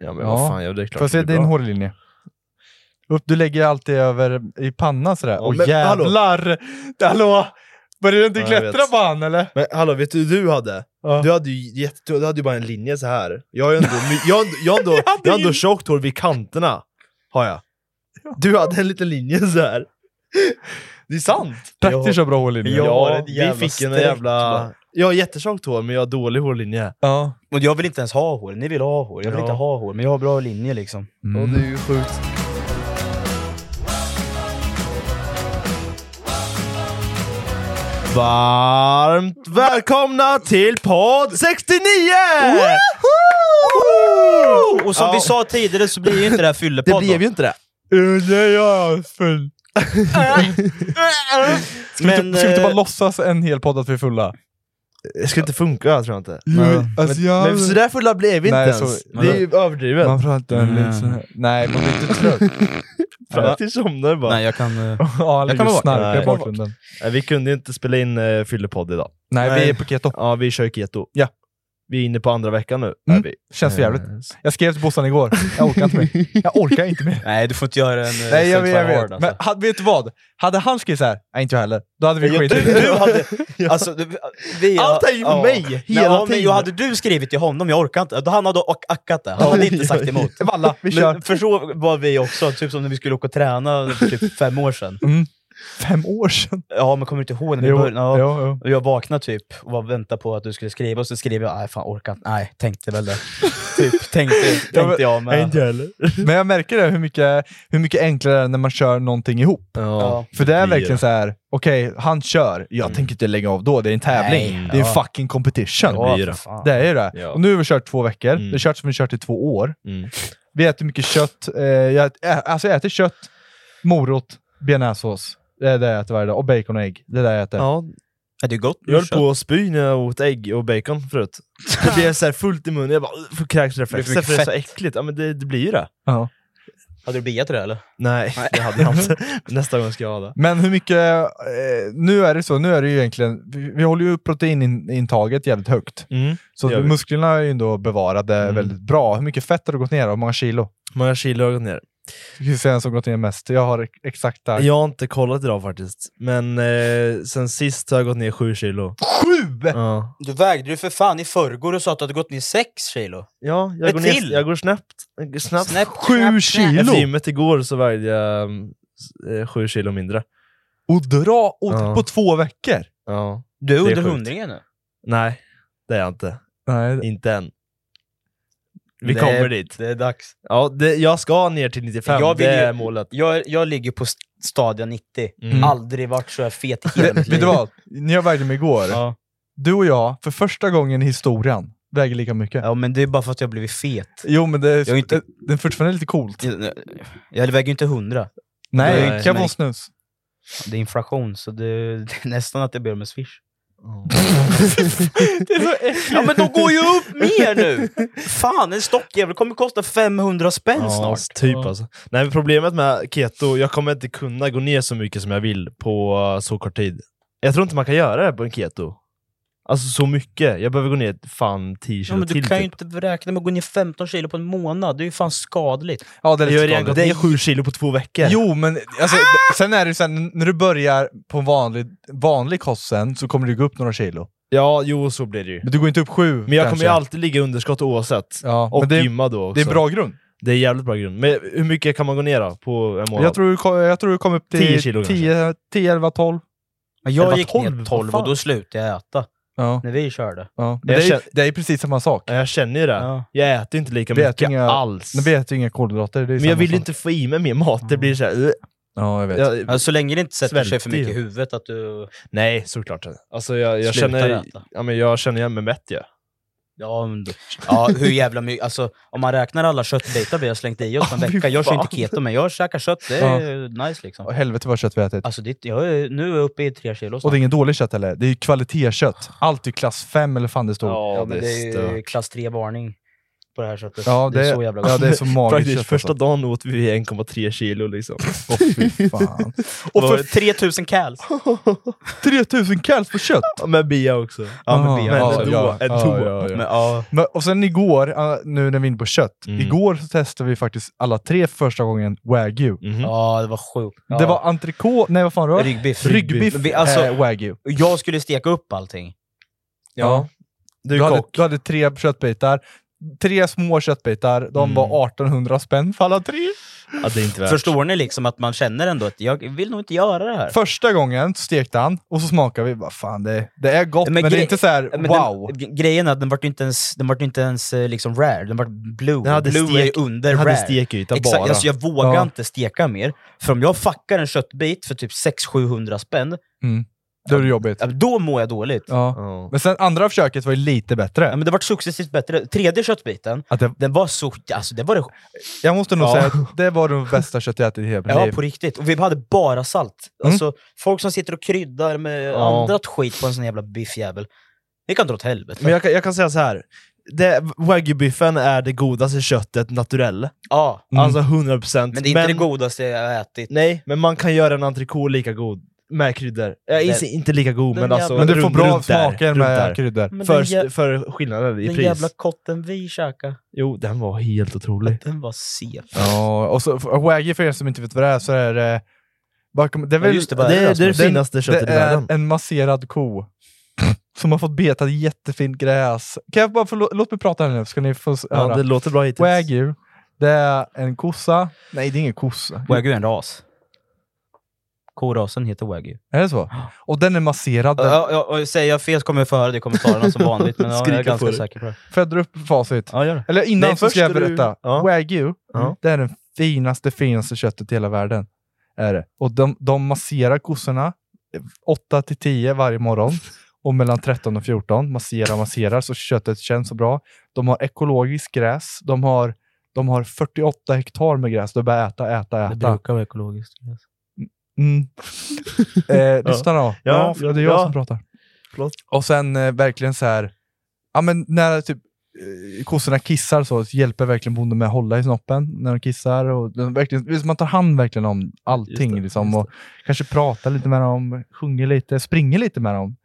Ja men Ja. vad fan, ja, det är klart Får jag se det blir din bra. hårlinje? Upp, du lägger alltid över i pannan sådär. Ja, Åh men hallå. jävlar! Hallå! Börjar du inte Ja, jag klättra vet. på han eller? Men hallå, vet du hur du hade? Ja. Du hade ju jätte, du hade ju bara en linje så här. Jag har ju ändå, my- jag, har ändå- jag, har ändå, hade jag har ändå ju- tjockt hår vid kanterna. Har jag. Du hade en liten linje så här. Det är sant! Praktiskt så bra hårlinje. Jag, har ja, ett vi jävla fick en streck jävla... bara. Jag har jättetjockt hår, men jag har dålig hårlinje. Ja. Och jag vill inte ens ha hår, ni vill ha hår. Jag vill Ja. inte ha hår, men jag har bra linje liksom. Mm. Och det är ju sjukt. Varmt välkomna till podd 69! Woho! Och som Ja, vi sa tidigare så blir ju inte det här fyllepodd. det blev ju inte det. Uh, nej, jag är full. då. Ska, vi Men, inte, ska vi inte bara eh, låtsas en hel podd att vi är fulla? Det skulle inte funka tror jag inte. Nej. Alltså, jag... Men så där fulla blev vi inte Nej, ens. så- alltså. Det är ju överdrivet. man pratar Mm. lite så här. Nej, man blir inte trött. Fram tills somnar bara. Nej, Nej. jag kan... eh, ja, han Jag kan ligger och vara- snarkar Nej. i bakgrunden. Vi kunde inte spela in uh, fyllepodd idag. Nej, Nej. vi är på keto. Ja, vi kör keto. Ja. Vi är inne på andra veckan nu. Mm. Är vi. Känns för jävligt. Eh, Jag skrev till Bossan igår. Jag orkar inte mer. Jag orkar inte mer. Nej, du får inte göra en... eh, Nej, jag Saint Fire vet. Jag vet. Hard, alltså. Men hade, vet du vad? Hade han skrivit så här, nej inte jag heller, då hade vi du, skitit i du det. hade... Alltså, du- vi, Allt är ju på mig, hela Nej, ja, men tiden. ju hade du skrivit till honom, jag orkar inte. Då han hade ak- ackat det. Han hade inte sagt emot. Valla, vi kör. Men för så var vi också, typ som när vi skulle åka och träna för typ fem år sedan. Fem år sedan. Ja, men kommer du inte ihåg när vi Jo, började? Ja. jo, jo. Och jag vaknade typ och bara väntade på att du skulle skriva, och så skrev jag nej fan orkar inte. Nej, tänkte väl det. typ, tänkte, tänkte jag med. Inte heller. Men jag märker det, hur mycket, hur mycket enklare det är när man kör någonting ihop. Ja. För det är Det är verkligen det. Mm. så här. okej, han kör. Jag tänker inte lägga av då. Det är en tävling. Nej, det är en ja. fucking competition. Ja, blir för det. fan. Det är ju det. Ja. Och nu har vi kört två veckor. Mm. Det har kört som vi kört i två år. Mm. Vi äter mycket kött. Eh, jag, ä, alltså jag äter kött, morot, bearnaisesås. Det är det jag äter varje dag. Och bacon och ägg. Det är det jag äter. Ja, Är det gott? jag höll på att spy när jag åt ägg och bacon förut. Det blev så här fullt i munnen, jag bara "Ugh", får kräksreflex. Det blir För för det är så fett. äckligt. Ja, men det, det blir ju det. Ja. Hade du biat det eller? Nej, det hade jag inte. Nästa gång ska jag ha det. Men hur mycket... Eh, nu är det så. Nu är det ju egentligen... Vi, vi håller ju upp proteinintaget jävligt högt. Så Mm, Det gör vi. musklerna är ju ändå bevarade Mm. väldigt bra. Hur mycket fett har du gått ner? Hur många kilo? Många kilo har gått ner. Du kan ju säga en som gått ner mest. Jag har ex- exakta... Jag har inte kollat idag faktiskt, men eh, sen sist har jag gått ner sju kilo. Sju! Ja, Du vägde ju för fan i förrgår och sa att du hade gått ner sex kilo. ja jag, Ett går ner, till? jag går snabbt. Jag går snabbt. Snäpp, Sju kilo! Efter gymmet igår så vägde jag mm, s- eh, sju kilo mindre. Och dra och, Ja. på två veckor! Ja. Du är Det är under sjukt. hundringen nu. Nej, det är jag inte. Nej, Inte än. Vi Det- kommer dit. Det är dags. Ja, det, jag ska ner till 95, Jag vill det ju- är målet. Jag, jag ligger på st- stadion 90. Mm. Aldrig varit så här fet i hela Det, mitt vet liv. du vad? När jag vägde mig igår, Ja. du och jag, för första gången i historien, väger lika mycket. ja, men det är bara för att jag har blivit fet. Jo, men det, Jag är är inte- det, det är fortfarande lite coolt. Jag, jag väger ju inte hundra. Nej, Nej. kan vara snus. Det är inflation, så det, det är nästan att jag ber om en swish. Det är så äckligt. ja, men de går ju upp mer nu! Fan, en stockjävel kommer kosta 500 spänn snart. typ alltså. Nej, men problemet med keto, jag kommer inte kunna gå ner så mycket som jag vill på eh, så kort tid. Jag tror inte man kan göra det på en keto. Alltså så mycket. Jag behöver gå ner fan 10 Ja, kilo men du till kan ju typ. inte räkna med att gå ner 15 kilo på en månad. Det är ju fan skadligt. Ja, det är Jag lite har redan skadligt. gått ner 7 kilo på två veckor. Jo, men alltså, sen är det ju så här, n- när du börjar på en vanlig, vanlig kost sen så kommer du gå upp några kilo. Ja, jo så blir det ju. Men du går inte upp sju Men jag kanske. kommer ju alltid ligga i underskott oavsett. Ja, Och men det, gymma då också. det är bra grund. Det är jävligt bra grund. Men hur mycket kan man gå ner då på en månad? Jag tror, du ko- jag tror du kom upp till 10 kilo 10, 10 11, 12. Men Det var jag gick 12, ner vad 12 fan. och då slutade jag äta. Ja, När vi körde. ja. Men Jag det, är, känner- det är precis samma sak. Ja, jag känner ju det. Ja. Jag äter ju inte lika Vi äter mycket inga- alls. Men vi äter ju inga kolhydrater. Det är Men jag samma vill ju sak. Mm. inte få i mig mer mat. Det blir så här, "Ugh." Ja, jag vet. jag, Alltså, så länge det inte sätter sig Svälter för ju. mycket i huvudet att du... Nej, såklart. Alltså jag, jag Slutar känner... äta. Ja, men jag känner igen mig mätt ju. Ja, men, då- ja hur jävla mycket... Alltså, om man räknar alla köttbitar vi har slängt i oss på en Ja, fy vecka. Jag kör inte fan. keto, men jag käkar kött. Det är nice Åh, liksom. helvete vad kött vi har ätit. Alltså, det, jag är, nu är jag uppe i tre kilo. Och snart. det är ingen dålig kött eller? Det är ju kvalitetskött. Allt är klass 5 eller fan det står. Ja, Ja, men det är ju klass 3-varning på det här köttet. det, är så jävla gott. ja, det är så magiskt Praktiskt kött. första Alltså. dagen åt vi 1,3 kilo liksom. Åh fy fan. Och för 3000 cals! 3000 kals på kött! Ja, Med bia också. Ja, men ja, ändå. ja, ändå. ja, ja, ja. Men, ja, Men, och sen igår, äh, nu när vi är inne på kött. Mm. Igår så testade vi faktiskt alla tre för första gången wagyu. Mhm. ja, det var sjukt. Ja. Det var entrecote, nej vad fan det var? Ryggbiff. Ryggbiff Vi- alltså- eh, wagyu. Jag skulle steka upp allting. Ja. Du Du är hade, kock. du hade tre köttbitar. Tre små köttbitar, de Mm. var 1800 spänn för alla tre. Ja, det är inte värt. Förstår ni liksom att man känner ändå att jag vill nog inte göra det här? Första gången stekte han och så smakade vi, vad fan det, det är gott, Men men, det grej- är inte så här Men wow. Den, grejen är att den vart ju inte ens, den vart ju inte ens eh, liksom rare, den vart blue. Den hade blue är ju stek- under Jag hade rare. stekyta Exakt, bara. alltså jag vågar Ja. inte steka mer. För om jag fuckar en köttbit för typ 600-700 spänn, Då är det jobbigt. ja, då mår jag dåligt. Ja. Ja. Ja. Men sen andra försöket var ju lite bättre. men det vart successivt bättre. Tredje köttbiten, Att det, den var så... Alltså det var det... jag måste nog Ja. säga att det var det bästa kött jag ätit i hela mitt Ja, liv. på riktigt. Och vi hade bara salt. Mm. Alltså, folk som sitter och kryddar med Ja. annat skit på en sån jävla biffjävel. Det kan dra åt helvete. Men jag, kan- jag kan säga så här. Det, wagyu-biffen är det godaste köttet naturell. ja, Mm. Alltså 100%. men det är inte det godaste jag har ätit. Nej, men man kan göra en entrecote lika god. Med kryddor. Ja, Den- inte- inte lika god, den men alltså... jävla- men du får runt- bra runt där, smaker runt med där. kryddor. Men För, den, jä- för skillnaden i den pris. jävla kotten vi käkade, Jo, den var helt otrolig. den var seg. Ja, och så och wagyu för er som inte vet vad det är så är det... vad kommer- Det är Ja, väl just det, Det vad är det, Rasmus? finaste köttet det i är världen. en masserad ko som har fått beta i jättefint gräs. Kan jag bara få, lå- låt mig prata här nu, ska ni få s- höra. Ja, det låter bra hittills. Wagyu, det är en kossa. Nej, det är ingen kossa. Mm. Wagyu är en ras. Korasen heter wagyu. Är det så? Och den är masserad. Den. Ja, ja, och säger jag fel så kommer jag få höra det i kommentarerna som vanligt, men ja, jag är Skrika på ganska det. säker på det. Får jag dra upp facit? Ja, gör det. Eller innan Nej, så ska jag först är du- berätta. Ja. Wagyu, mm, Ja. det är den finaste, finaste köttet i hela världen. Är det. Och de, de masserar kossorna 8 till 10 varje morgon. Och mellan 13 och 14 masserar masserar så köttet känns så bra. De har ekologiskt gräs. De har, de har 48 hektar med gräs. De bara äta, äta, Det äta. brukar vara ekologiskt. Mm. eh, lyssna då. Ja, Ja, för det är jag ja. som pratar. Förlåt. Och sen eh, verkligen så här, ja men när typ eh, kossorna kissar så, så hjälper verkligen bonden med att hålla i snoppen när de kissar. Och den verkligen, liksom, man tar hand verkligen om allting. Just det, liksom, just det. och Kanske pratar lite med dem, sjunger lite, springer lite med dem.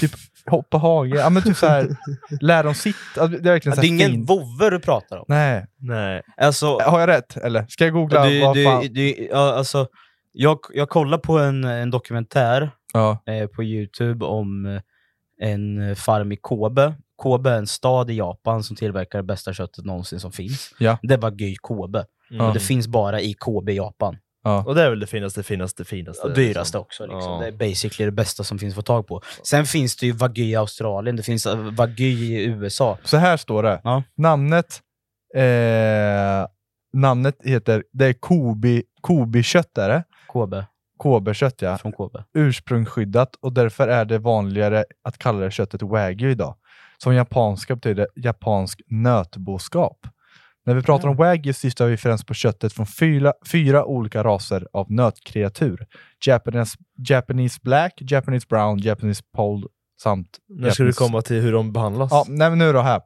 Typ hoppa hage, ja, men typ så här, lär dem sitt. Ja, Det är verkligen Det så är här ingen fint. vovve du pratar om. Nej. Nej. Alltså, Har jag rätt? Eller? Ska jag googla? du, vad du, fan? du, ja, alltså, jag, jag kollade på en, en dokumentär Ja. eh, på Youtube om eh, en farm i Kobe. Kobe är en stad i Japan som tillverkar det bästa köttet någonsin som finns. Ja. Det var Guy Kobe. Mm. Och det finns bara i Kobe, Japan. Och det är väl det finaste, finaste, finaste. Och dyraste också. Liksom. Ja. Det är basically det bästa som finns att få tag på. Sen finns det ju Wagyu i Australien, det finns eh, Wagyu i USA. Så här står det. Ja. Namnet, eh, namnet heter, det är Kobi, Kobi-kött är det. Kobe, Kobe-kött ja. från Kobe. Ursprungsskyddat och därför är det vanligare att kalla det köttet wagyu idag. Som japanska betyder japansk nötboskap. När vi pratar om wagyu syftar vi främst på köttet från fyra, fyra olika raser av nötkreatur. Japanese, Japanese black, Japanese brown, Japanese polled samt När ska du etnisk- komma till hur de behandlas? Ja, nej, men nu då här.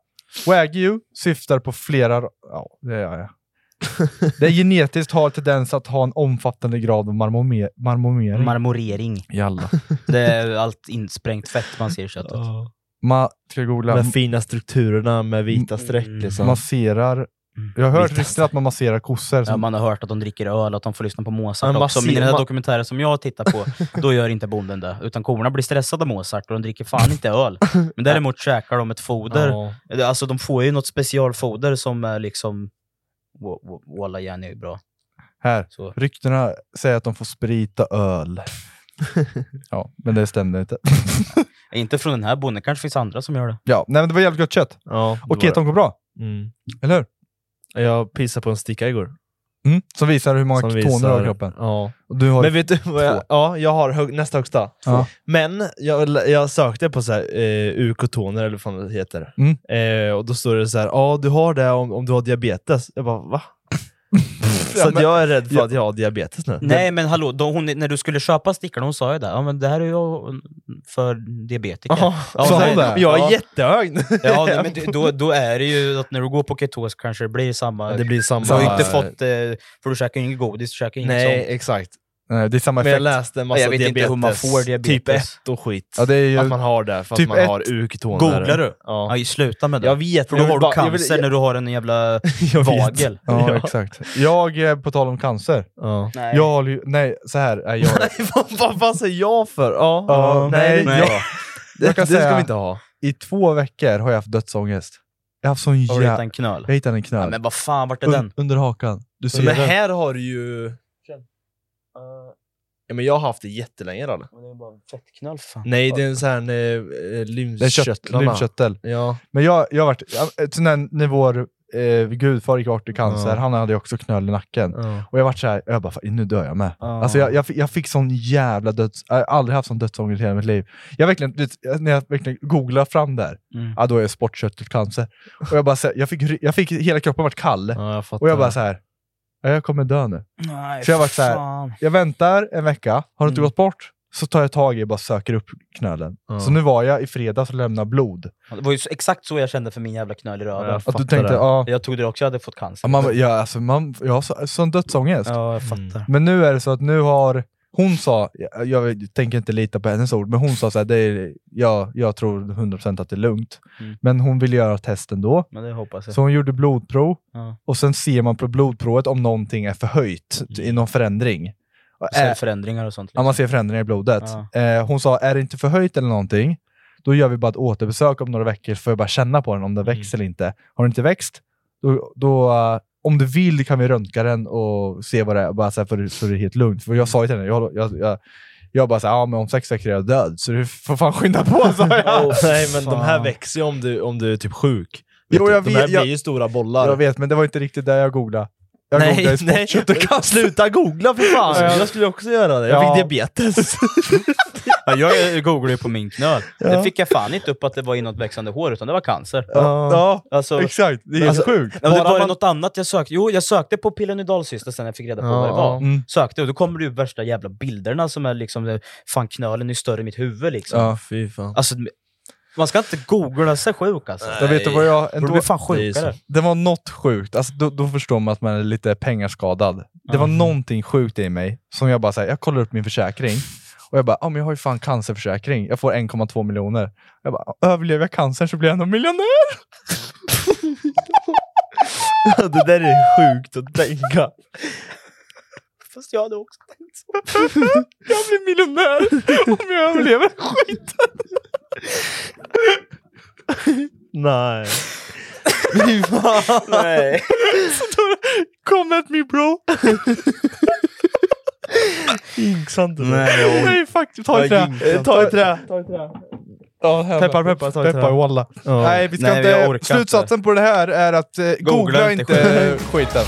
Wagyu syftar på flera... Ja, det gör jag. det genetiskt har tendens att ha en omfattande grad av marmome- marmorering. Marmorering. Jalla. Det är allt insprängt fett man ser i köttet. Ja. Man, ska jag googla? De fina strukturerna med vita streck Mm. liksom. Mm. Masserar... Jag har hört Vita rykten att man masserar kossor. Ja, Som, man har hört att de dricker öl, att de får lyssna på Mozart Men också. Men i den här masser- ma- dokumentären som jag tittar på, då gör inte bonden det. Utan korna blir stressade av Mozart och de dricker fan inte öl. Men däremot käkar de ett foder. Ja. Det- Alltså de får ju något specialfoder som är liksom... Wa- wa- Walla järn är ju bra. Här. Så. Ryktena säger att de får sprita öl. ja, men det stämde inte. Inte från den här bonden, kanske finns andra som gör det. ja, nej, men det var jävligt gott kött. Ja, det Och keton går bra, var det. Mm. eller hur? Jag pissade på en sticka igår. Mm. Som visar hur många ketoner du har i kroppen. Ja. Och du har Men vet du vad jag, Ja, jag har hög, nästa högsta. Ja. Men jag, jag sökte på så här, eh, urkotoner, eller vad fan det heter. Mm. Eh, och då står det så här, ja du har det om, om du har diabetes. Jag bara, va? så att men- jag är rädd för att jag har diabetes nu. Nej men hallå, då hon, när du skulle köpa stickarna, hon sa ju det. Ja, men det här är ju för diabetiker. Ja, Ja, Sa nej, hon det? Jag är ja. jättehög nu. Ja, nej, men det- då, då är det ju att när du går på ketos kanske det blir samma... det blir samma... Du har ju inte fått... Eh, för du käkar ju inget godis, du käkar inget Nej, sånt. exakt. Nej, det är samma Men jag effekt. läste en massa Ja, jag vet inte diabetes, hur man får typ diabetes. 1 och skit. Ja, det är ju- Att man har det för att typ man ett- har urkotoner. Googlar du? Ja. Ja, ju sluta med det. Jag vet, för men jag då har vill du bara- jag cancer vill- när du har en jävla Jag vet. vagel. Ja, exakt. Jag, eh, på tal om cancer. Ja. Nej. Jag håller ju... Nej, så här. Nej, jag, vad, vad fan säger jag för? Ja, Ja, ja, nej, nej, nej. jag- jag Det, kan det ska säga- vi inte ha. I två veckor har jag haft dödsångest. Jag har haft sån Har du hittat jävla... en knöl? Jag hittade en Ja, knöl. men vad fan, vart är Un, den? under hakan. Du ser Men den. här har du ju... Ja, men jag har haft det jättelänge. Då. Fettknöl, fan. Nej, det är en sån här Det är kött, lymfköttlarna. lymfköttel. Ja. Men jag, jag har varit... jag- Så när, när vår eh, gudfar gick bort i cancer, Ja. han hade ju också knöl i nacken. Och jag vart så här, jag bara, "Fan, nu dör jag med. Ja. Alltså jag, jag, fick- jag fick sån jävla döds... Jag har aldrig haft sån dödsångest i hela mitt liv. Jag verkligen, du vet, när jag verkligen googlade fram där, Mm. ja, då är jag sportkörtelcancer. Och jag bara, så här, jag, fick, ry- jag fick, hela kroppen vart kall. Ja, jag fattar. Och jag bara så här, ja, jag kommer dö nu. Nej, Så jag varit så här- fan. Jag väntar en vecka, har det inte Mm. gått bort, så tar jag tag i och bara söker upp knölen. Ja. Så nu var jag i fredags och lämnade blod. Ja, Det var ju så, exakt så jag kände för min jävla knöl i Ja, röven. jag Att du fattar tänkte, det. ja. Jag tog det också, jag hade fått cancer. ja, Man, ja, alltså, man, jag har så, sån dödsångest. Ja, jag Mm. fattar. Men nu är det så att nu har... Hon sa, jag, jag tänker inte lita på hennes ord, men hon sa så här, det är, jag, jag tror 100% att det är lugnt. Mm. Men hon ville göra test ändå. Men det hoppas jag. Så hon gjorde blodprov Ja. och sen ser man på blodprovet om någonting är förhöjt i någon förändring. Och Mm. Så är det är- förändringar och sånt. Äh. Ja, liksom. man ser förändringar i blodet. Eh, hon sa, är det inte förhöjt eller någonting, då gör vi bara ett återbesök om några veckor för att bara känna på den om den Mm. växer eller inte. Har den inte växt, då, då, eh, om du vill kan vi röntga den och se vad det är, bara så, här för, så det är helt lugnt. För jag sa ju till henne, jag, jag, jag, jag bara såhär, ja men om sex veckor är jag död, så du får fan skynda på, sa jag. Åh, Oh, nej, men de här Fan. växer ju om du, om du är typ sjuk. Jo, du, jag de vet- här jag- blir ju stora bollar. jag vet, men det var inte riktigt där jag googlade. Jag googlade nej, i nej. sportkött och cancer. Sluta googla för fan! Ja. Jag skulle också göra det. Jag Ja. fick diabetes. Ja, jag googlade ju på min knöl. Ja. Det fick jag fan inte upp att det var i något växande hår, utan det var cancer. Ja, Alltså, exakt. Det är helt Alltså, sjukt. Ja, men det Bara var man- något annat jag sökte. Jo, jag sökte på pilonidalcysta sen när jag fick reda på Ja, vad det var. ja. Mm. Sökte och då kommer det ju värsta jävla bilderna som är liksom, eh, fan knölen är större i mitt huvud liksom. Ja. Fy fan. Alltså, man ska inte googla sig sjuk alltså. Jag vet du vad jag... Då blir fan sjukare. Det var något sjukt. Alltså, då, då förstår man att man är lite pengarskadad. Det Mhm. var någonting sjukt i mig som jag bara säger. jag kollar upp min försäkring och jag bara, ah, men jag har ju fan cancerförsäkring. Jag får 1,2 miljoner. Jag bara, överlever jag cancern så blir jag nog miljonär. det där är sjukt att tänka. Fast jag hade också tänkt så. Jag blir miljonär om jag överlever. Skit. Nej. Fy fan. Nej. Come at me bro. Jinxar inte mig. Nej, Nej fuck, ta i Jag trä. jinxar. Eh, Ta i trä. Ta i trä. Ja, här- Peppar, peppar, ta i trä. peppar, walla. Ja. Nej, vi ska Nej, jag inte... orkar inte. Slutsatsen på det här är att eh, googla, inte inte skiten.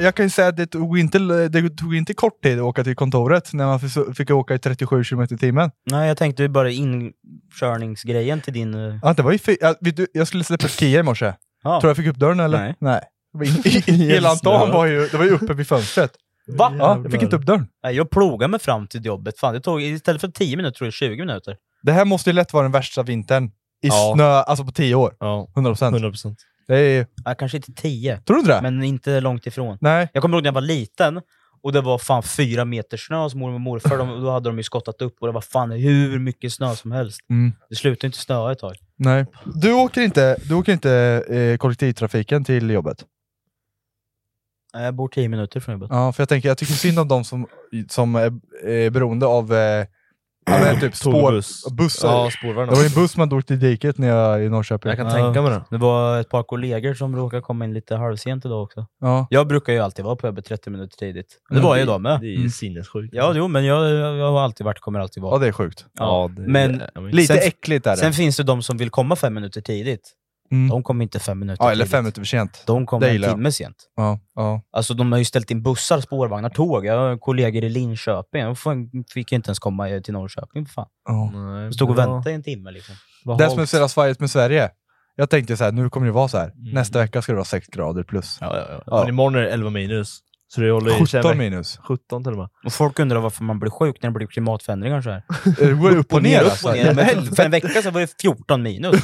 Jag kan ju säga att det tog, inte, det tog inte kort tid att åka till kontoret när man fick- fick åka i 37 km i timmen. Nej, jag tänkte ju bara inkörningsgrejen till din... eh, Ja, det var ju fy- ja, vet du, jag skulle släppa upp Kia i morse. Ja. Tror jag fick upp dörren eller? Nej. Nej. Det var in- Hela dagen var ju, det var ju uppe vid fönstret. Va? Ja, jag fick inte upp dörren. Nej, jag plogade mig fram till jobbet. Fan, det tog, istället för 10 minuter tog det 20 minuter. Det här måste ju lätt vara den värsta vintern i Ja. snö, alltså på tio år. Ja, 100 procent. 100%. Det är, Ja, kanske inte 10, tror du inte det? men inte långt ifrån. Nej. Jag kommer ihåg när jag var liten och det var fan fyra meter snö hos mormor och morfar. De, då hade de ju skottat upp och det var fan hur mycket snö som helst. Mm. Det slutade inte snöa ett tag. Nej. Du åker inte, du åker inte eh, kollektivtrafiken till jobbet? Nej, Jag bor 10 minuter från jobbet. Ja, för jag tänker, jag tycker synd om de som, som är, är beroende av eh, ja, men typ Tåg och spår, buss. bussar. Ja, spårvagn Det var ju en också. buss man drog till diket när jag i Norrköping. Jag kan tänka mig det. Det var ett par kollegor som råkade komma in lite halvsent idag också. Ja. Jag brukar ju alltid vara på jobbet 30 minuter tidigt. Det var jag idag med. Det är ju Mm. sinnessjukt. Ja, jo, men jag, jag, jag har alltid varit kommer alltid vara. ja, det är sjukt. Ja, det- Men ja, men- Lite Sen- äckligt är det. Sen finns det de som vill komma fem minuter tidigt. Mm. De kommer inte fem minuter ja, eller tidigt. fem minuter för sent. De Det kommer en gillar jag. timme sent. Ja, ja. Alltså de har ju ställt in bussar, spårvagnar, tåg. Jag har kollegor i Linköping. Jag fan- fick ju inte ens komma eh, till Norrköping. för Fan. ja. Nej, Jag stod och men- väntade i en timme. Liksom. Vad Det halt. som är så jävla svajigt med Sverige. Jag tänkte så här, nu kommer det vara så här. Nästa vecka ska det vara 6 grader plus. Ja, ja, ja. Ja. Men imorgon är det 11 minus. Så det håller i 17 minus. 17 till och med. Och folk undrar varför man blir sjuk när det blir klimatförändringar så här. Det går upp och ner alltså. Ja, men för en vecka sedan var det 14 minus.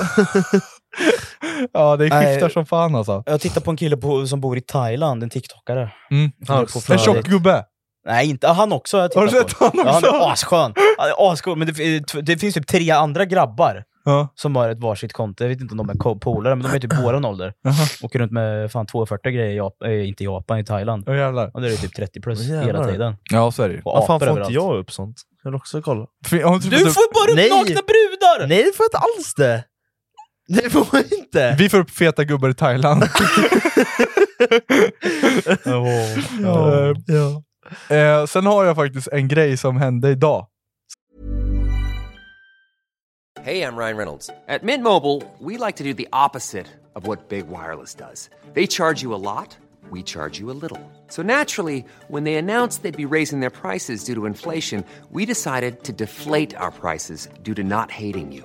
Ja, det Nej. skiftar som fan alltså. Jag tittar på en kille på, som bor i Thailand, en tiktokare. Mm. Han är på En flödet. tjock gubbe. Nej, inte han också har jag Har tittat du sett på. honom Ja, han också? är asskön. Han är ascool, men det, det finns typ tre andra grabbar Ja. som har ett varsitt konto. Jag vet inte om de är ko- polare, men de är typ våran ålder. Jaha. Åker runt med fan 240 grejer i Japan, eh, inte i Japan, i Thailand. Åh, jävlar. Och det är typ 30 plus Jävlar. hela tiden. Ja, så är det ju. Och Vad fan apor får inte överallt. jag upp sånt? Jag vill också kolla. Fin- har typ inte Du fått upp- får bara upp Nej! nakna brudar! Nej, det får jag inte alls det! Det får jag inte! Vi får upp feta gubbar i Thailand. Ja. Eh, eh, sen har jag faktiskt en grej som hände idag. Hey, I'm Ryan Reynolds. At Mint Mobile, we like to do the opposite of what Big Wireless does. They charge you a lot, we charge you a little. So naturally, when they announced they'd be raising their prices due to inflation, we decided to deflate our prices due to not hating you.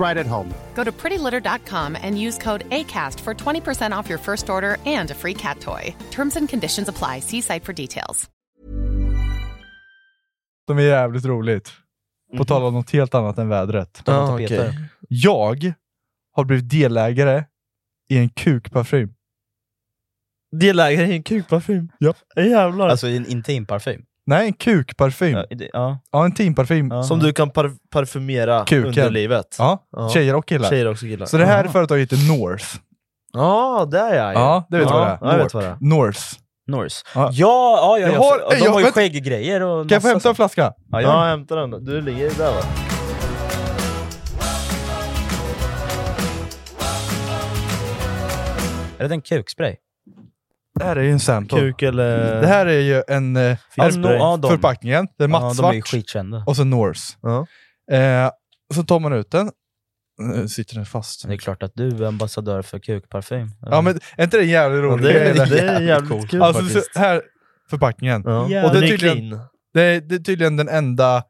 right at home. Go to prettylitter.com and use code ACAST for 20% off your first order and a free cat toy. Terms and conditions apply. See site for details. Som är jävligt roligt. På tal om något helt annat än vädret. Ja, Mhm. Ah, okej. tapeter. Jag har blivit delägare i en kukparfym. Delägare i en kukparfym. Ja. Jävlar. Alltså i en intim parfym. Nej, en kukparfym. Ja, i det- ja. Ja, en teamparfym. Ja. som du kan par- parfymera Kuken. under livet. Ja, tjejer och killar. Tjejer också killar. Så det här Ja, företaget heter North. ah, där är jag. Ja, det vet ja, vad det är. Ja, jag vet vad det är. North. Norse. Ja. Ja, ja, ja, ja. Jag har- de jag har ju vet- skägggrejer och Kan jag massa få hämta en flaska? Ja, jag hämtar den. då. Du ligger där va? sånt. Är det en kukspray? Det här är ju en sample. Kuk eh, eller... Det här är ju en... eh, Ja, är det no- ja, de. förpackningen. Det är Ja, de är ju mattsvart. skitkända. och så Norse. Ja. Eh, så tar man ut den. Nu sitter den fast. Men Det är klart att du är ambassadör för kukparfym. Ja, men är inte det en jävligt Ja, rolig det, är, grej? det eller? är jävligt, coolt kul Alltså, faktiskt. så här, förpackningen. Ja. Jävligt Och det är clean. tydligen... Det, är, det är tydligen den enda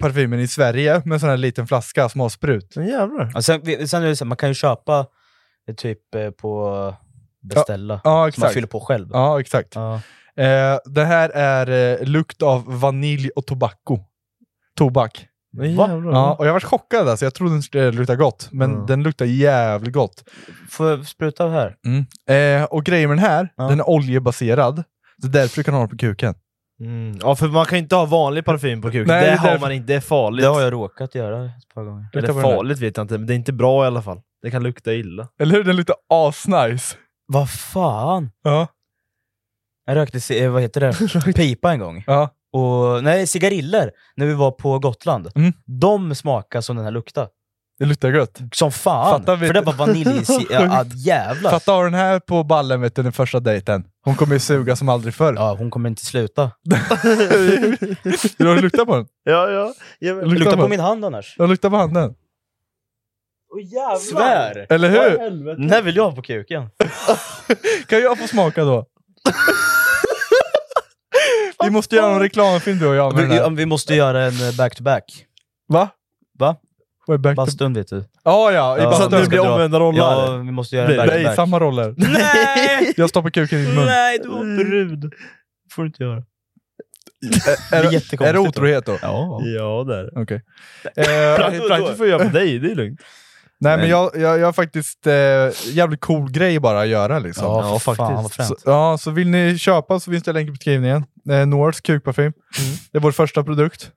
parfymen i Sverige med en sån här liten flaska som har sprut. Men jävlar. Och sen, vi- sen är det så här, man kan ju köpa eh, typ eh, på beställa. Ja, som man exakt. fyller på själv. Ja, exakt. Ja. Eh, det här är eh, lukt av vanilj och tobacco. Tobak. Men Va? jävlar. Ja, och jag var chockad alltså. Jag trodde den skulle lukta gott, men Mm. den luktar jävligt gott. Får jag spruta här? Eh, och grejen med den här, Ja. den är oljebaserad. Det är därför du kan ha den på kuken. Mm. ja, för man kan ju inte ha vanlig parfym på kuken. Nej, det det är har därför- man inte. Det är farligt. Det har jag råkat göra ett par gånger. Lukta Eller på den här. farligt vet jag inte, men det är inte bra i alla fall. Det kan lukta illa. Eller hur? Den luktar asnice. Vad fan? Ja. Jag rökte, ci- eh, vad heter det, pipa en gång. Ja. Och, nej, cigariller. När vi var på Gotland. Mm. De smakade som den här lukta. Det luktar gött. Som fan! Fatta, vet för det var du. vanilj... ja, ja, ah, Sjukt. jävlar! Fatta ha den här på ballen vet du, den första dejten. Hon kommer ju suga som aldrig förr. Ja, hon kommer inte sluta. Vill du lukta på den? Ja, ja. Jävlar. Lukta på min hand annars. Jag luktar på handen. Svär! Eller hur? Vad i helvete? Den här vill jag ha på kuken. Kan jag få smaka då? Vi måste göra en reklamfilm du och jag med den Vi, här. om vi måste göra en eh, back-to-back. Va? Va? Vad är back to- Bastun vet du. Ja, ja. I Ja, bastun. så att nu ska blir dra. omvända roller. Ja, vi måste göra en Nej, back-to-back. samma roller. Nej! Jag stoppar kuken i din mun. Nej, du var brud. får du inte göra. är, det är det- är det jättekonstigt då. otrohet då? Ja. Ja, där. Okej. Eh, Praktiskt får jag göra på dig, det är lugnt. nej, men jag, jag, jag har faktiskt eh, jävligt cool grej bara att göra liksom. Ja, Ja, fan faktiskt. vad Så, fränt. ja, så vill ni köpa så finns det länk i beskrivningen. Eh, Norths kukparfym. Mm. Det är vår första produkt.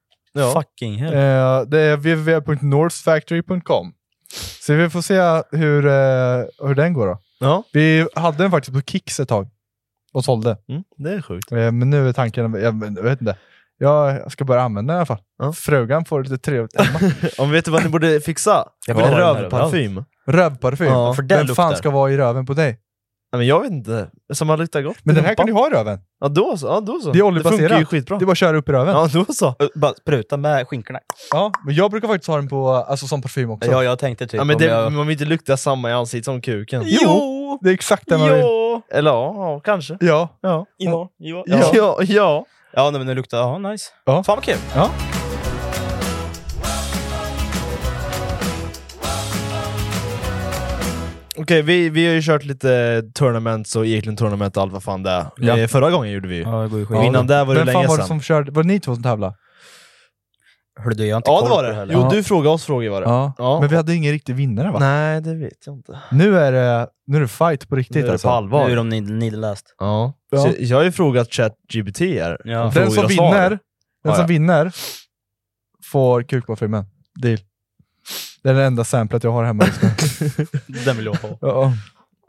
Fucking hell. Eh, det är www.northsfactory.com. Så vi får se hur, eh, hur den går då. Ja, Vi hade den faktiskt på Kicks ett tag och sålde. mm, det är sjukt. Eh, men nu är tanken, jag, men jag vet inte. Jag ska börja använda den i alla fall. Ja. Frugan får det lite trevligt hemma. Om vet du vad ni borde fixa? Jag vill en ha den här rövparfym. Rövparfym. Ja, för den Vem fan luktar. ska vara i röven på dig? Nej, men jag vet inte. Som har luktat gott. Men den här Rumpa. kan du ha i röven. Ja, då så. Ja, då så. Det är Det funkar ju oljebaserat. skitbra. Det är bara att köra upp i röven. Ja. Ja, då så. Ö, Bara spruta med skinkorna. men jag brukar faktiskt ha den på, alltså, som parfym också. Ja, jag tänkte typ Ja, men det, om jag... Man vill inte lukta samma i ansiktet som kuken. Jo! Det är exakt det man vill. Jo! Eller ja, ja, kanske. Ja. Ja. Ja, Ja, ja, ja. ja. ja. ja nej, men det luktar... Ja, nice. Ja. Fan vad kul! ja. Okej, vi, vi har ju kört lite tournaments och Eklund tournament och allt vad fan det är. Ja. Eh, Förra gången gjorde vi ju. Ja, det går ju Och innan det var det Vem fan länge var det sedan. som körde? Var det ni två som tävlade? Hörru du, jag har inte Ja, koll det på var det det. heller. Jo, Ja. du frågade oss frågor var det. Ja. Ja. Men vi hade ingen riktig vinnare va? Nej, det vet jag inte. Nu är det, nu är det fight på riktigt Nu är det alltså. på allvar. Nu är de nid- nideläst. Ja. Ja. Så jag har ju frågat ChatGPT här. Ja. om frågor Den Den som och svar. vinner, den Ja, som ja. vinner får kuk på filmen. Deal. Det är det enda samplet jag har hemma just nu. Den vill jag ha. Ja,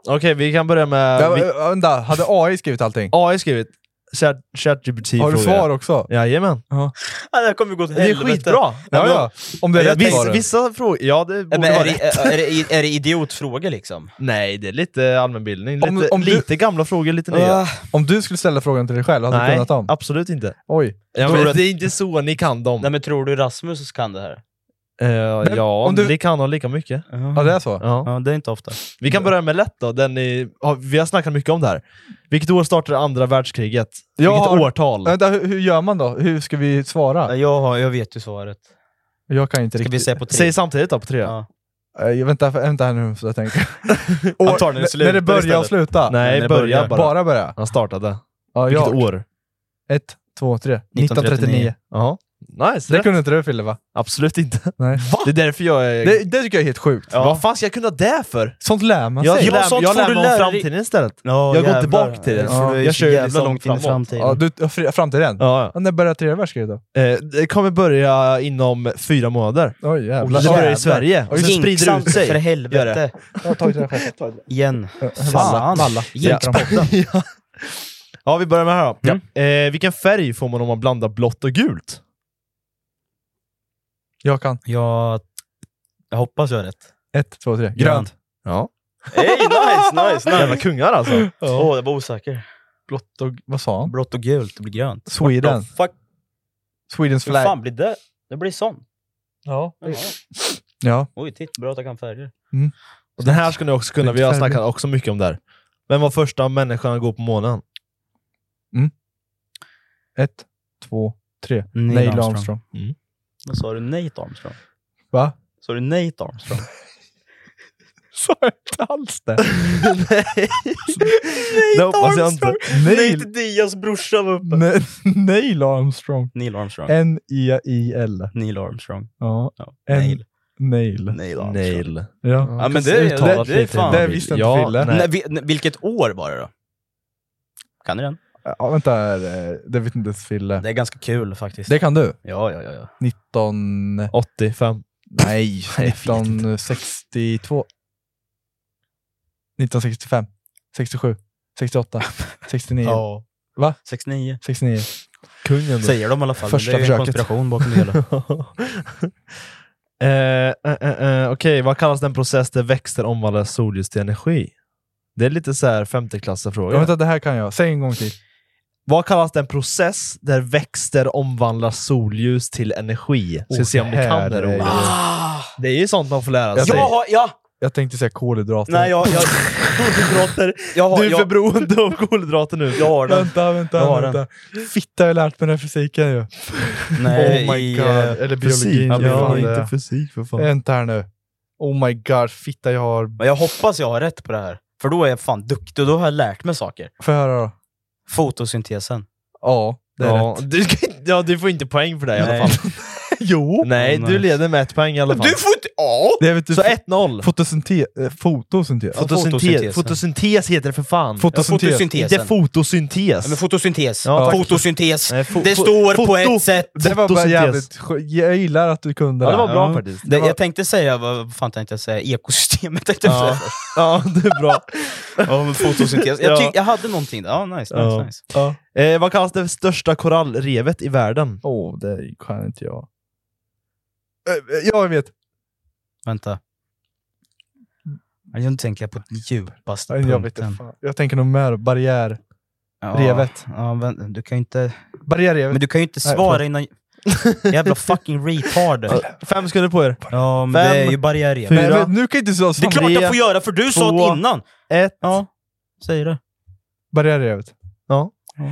Okej, vi kan börja med... ja, vi- ja, Vänta, hade AI skrivit allting? AI skrivit. Chat- ChatGPT Har du frågar. svar också? Jajamän. Ja, det här kommer gå till Det är helvete. skitbra! Ja, ja. Om det är rätt Vissa, svar. vissa frågor... Ja, det borde Men är, vara det, rätt. är, är, det, är det idiotfrågor liksom? Nej, det är lite allmänbildning. Lite, Om- om du- lite gamla frågor, lite nya. Ah, Om du skulle ställa frågan till dig själv, hade du Nej, kunnat dem? absolut inte. Oj. Ja, Tror men du att- Det är inte så ni kan dem. Nej men tror du Rasmus kan det här? Eh, ja, om du- vi kan dem lika mycket. Ja, det är så? Ja. Ja, det är inte ofta. Vi kan börja med lätt då. Den är, ja, vi har snackat mycket om det här. Vilket år startade andra världskriget? Jag Vilket har- årtal? Vänta, hur, hur gör man då? Hur ska vi svara? Ja, jag, har, jag vet ju svaret. Jag kan inte Ska vi riktigt. säga på tre? Säg samtidigt då, på tre. Ja. Eh, vänta, vänta här nu så jag tänker. Han tar den i När- när slutet det börjar och istället. sluta? Nej, när det börja börjar. bara. Bara börja? Han startade. Ja, Vilket jag. år? Ett, två, tre. 1939. 1939. Ja. Nice, Det rätt. kunde inte du Fille va? Absolut inte. Nej. Det är därför jag är... Det, det tycker jag är helt sjukt. Ja. Vad fan ska jag kunna det för? Sånt lär man Jag, sig. Ja, lär, sånt jag får lär du mig om lära dig. framtiden istället. Ja, Jag går jävlar. tillbaka till det. Ja, Ja. du är Jag jag kör kör ju jävla liksom långt in i framåt. framtiden. Ja, du, ja, fri- framtiden? Ja. Ja, ja. När börjar tredje världskriget då? Eh, det kommer börja inom fyra månader. Oj jävlar. Det börjar i jävlar. Sverige, och sen sprider det ut Jinxan, för sig. Gör helvete. Jag har tagit det här själv. Igen. Valla. Valla. Jinxpotten. Ja, vi börjar med här då. Mm. Eh, vilken färg får man om man blandar blått och gult? Jag kan. Jag, jag hoppas jag har rätt. Ett, två, tre. Grönt. Ja. Hey, nice, nice, Jävla nice! kungar alltså. Åh, Och det var osäker. Blått och... Vad sa han? Blått och gult, det blir grönt. Sweden. What the fuck? Swedens Hur fan flag. blir det? Det blir sånt. Ja. Jaha. Ja. Oj, titta. Bra att jag kan färger. Den här ska ni också kunna, vi har Färg. snackat också mycket om det här. Vem var första människan att gå på månen? Ett, två, tre. Neil Neil Armstrong. Armstrong. Vad sa du? Nate Armstrong? Va? Sa du Nate Armstrong? Sa jag inte alls det? Det hoppas jag inte. Neil, Diaz brorsa var uppe. Ne- Neil Armstrong. Neil Armstrong. N-E-I-L. Neil Armstrong. Ja. Ja. En- Neil. Nail. Neil Armstrong. Nail. Ja. Ja, men det, det, Uttalat det är lite. fan... Det visste inte Ja, Fille. nej. Nej, vi- nej, vilket år var det då? Kan ni den? Ja, vänta här. eh, Det vet inte ens Fille. Det är ganska kul faktiskt. Det kan du. Ja, ja, ja. ja. 19... 85. Nej, 1962. 1965. 67. 68. 69. ja. Va? 69. 69. Kungen. Säger de i alla fall. Första Alltså, det är ju en försöket. konspiration bakom det hela. Eh, eh, eh, eh, Okej, vad kallas den process där växter omvandlar solljus till energi? Det är lite så här femteklassarfråga. Ja, vänta, det här kan jag. Säg en gång till. Vad kallas den process där växter omvandlar solljus till energi? Ska Åh, se om ni kan det här är ordet. ju- Ah! Det är ju sånt man får lära sig. Jag har- ja! Jag tänkte säga kolhydrater. Nej, jag... jag kolhydrater. Jag har- du är jag- för beroende av kolhydrater nu. Jag har den. Vänta, vänta, Jag har vänta. Fitta, jag har lärt mig den här fysiken ju. Nej, oh my i, god. eh, Eller fysik. biologin. Ja, eller men vad fan, det är. inte fysik, för fan. Vänta här nu. Oh my god, fitta jag har... Men jag hoppas jag har rätt på det här. För då är jag fan duktig och då har jag lärt mig saker. Får jag höra då? Fotosyntesen. Ja, det är Ja, rätt. du, ska inte- ja, du får inte poäng för det i Nej. alla fall. Jo! Nej, du Nej. leder med ett poäng i alla fall. Du får inte... Ja! Det är typ vet du, Så 1-0. fotosyntes... Fotosyntes? Fotosyntes. fotosyntesen. fotosyntes heter det för fan. Fotosyntes. Fotosyntesen. Inte fotosyntes. Ja, men fotosyntes. Ja, tack. fotosyntes. Nej, fo- det fo- står foto- på ett sätt. Det var bara Fotosyntes. jävligt skö- Jag gillar att du kunde Ja, det var bra faktiskt. Det, jag tänkte säga, vad vad fan tänkte jag säga? Ekosystemet tänkte jag Ja. säga. ja, det är bra. Ja, men fotosyntes. Jag, Ja. tyck, jag hade någonting där. Ja, nice, nice, Ja. nice. Ja. Eh, vad kallas det största korallrevet i världen? Åh, det kan inte jag. Eh, eh, Jag vet. Vänta. Jag tänker på den djupaste Nej, Jag, vet inte punkten. fan. jag tänker nog mer barriär. Ja, Revet. Ja, men, du kan ju inte... Barriärrevet. Men du kan ju inte Nej, svara innan... Jävla fucking retard. Fem sekunder på er. Ja, men Fem, det är ju barriärrevet. fyra, Nej, men nu kan inte så Det är klart tre, jag får göra, för du sa två, det innan! Ett. Ja, säg det. Barriärrevet. Ja.